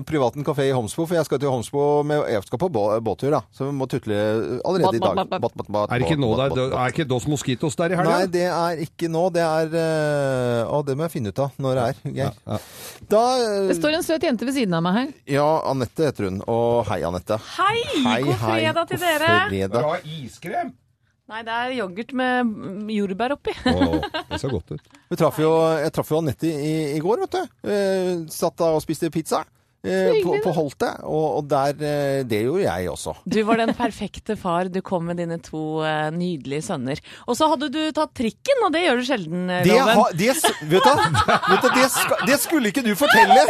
[SPEAKER 3] privaten kafé i Homsbo, for jeg skal til Homsbo med Jeg skal på bå- båttur, da. Så vi må tutle allerede i dag.
[SPEAKER 4] Bat, bat, bat,
[SPEAKER 6] Er det ikke nå det er, er ikke Dos Mosquitos der i helga?
[SPEAKER 3] Nei, det er ikke nå. Det er eh, Å, det må jeg finne ut av når det er, Geir. Da eh,
[SPEAKER 4] Det står en søt jente ved siden av meg her.
[SPEAKER 3] Ja, Anette heter hun. Og hei, Anette.
[SPEAKER 12] Hei, god fredag til dere.
[SPEAKER 3] God fredag.
[SPEAKER 6] ha iskrem?
[SPEAKER 12] Nei, det er yoghurt med mm, jordbær oppi.
[SPEAKER 6] det ser godt ut.
[SPEAKER 3] Vi traff jo, jeg traff jo Anette i, i går, vet du. Eh, satt da og spiste pizza. Eh, på, på Holte. Og, og der eh, Det gjorde jeg også.
[SPEAKER 12] Du var den perfekte far. Du kom med dine to eh, nydelige sønner. Og så hadde du tatt trikken, og det gjør du sjelden, eh,
[SPEAKER 3] Det,
[SPEAKER 12] Loven.
[SPEAKER 3] har- det, s- vet du, hva? vet du det, skal, det skulle ikke du fortelle!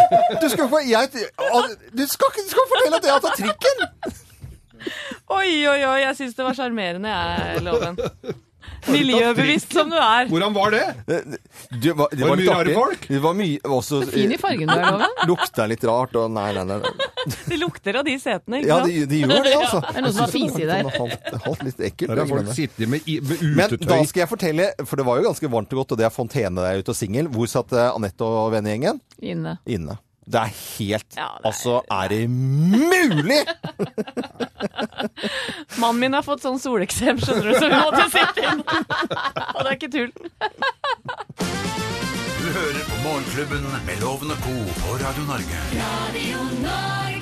[SPEAKER 3] Du, skulle, få- jeg, du skal ikke du skal fortelle at jeg har tatt trikken!
[SPEAKER 12] Oi, oi, oi, jeg syns det var sjarmerende, jeg, Loven. Miljøbevisst som du er.
[SPEAKER 6] Hvordan var det?
[SPEAKER 3] Du, var, Eh, det
[SPEAKER 6] Var det
[SPEAKER 3] litt
[SPEAKER 6] mye rare
[SPEAKER 3] artig.
[SPEAKER 6] folk?
[SPEAKER 3] Det var mye også,
[SPEAKER 4] Fin i fargen du er, Loven.
[SPEAKER 3] Lukta litt rart og Nei, nei, nei. nei.
[SPEAKER 12] Det lukter av de setene, ikke
[SPEAKER 3] Ja,
[SPEAKER 12] sant?
[SPEAKER 3] de, de gjør det, altså.
[SPEAKER 4] er noen som har fise i der.
[SPEAKER 3] Holdt litt ekkelt.
[SPEAKER 6] Der har folk
[SPEAKER 3] men-
[SPEAKER 6] sittet med, i- med
[SPEAKER 3] Men
[SPEAKER 6] utetøy.
[SPEAKER 3] da skal jeg fortelle, for det var jo ganske varmt og godt, og det er fontene der ute og singel. Hvor satt eh, Anette og vennegjengen?
[SPEAKER 4] Inne.
[SPEAKER 3] Inne. Det er helt
[SPEAKER 12] Ja, det er-
[SPEAKER 3] Altså, er det mulig?!
[SPEAKER 12] Mannen min har fått sånn soleksem, skjønner du, så vi måtte sitte inne. Og det er ikke tull.
[SPEAKER 2] Du hører på Morgenklubben med Loven og Co. på Radio Norge.
[SPEAKER 1] Radio Norge.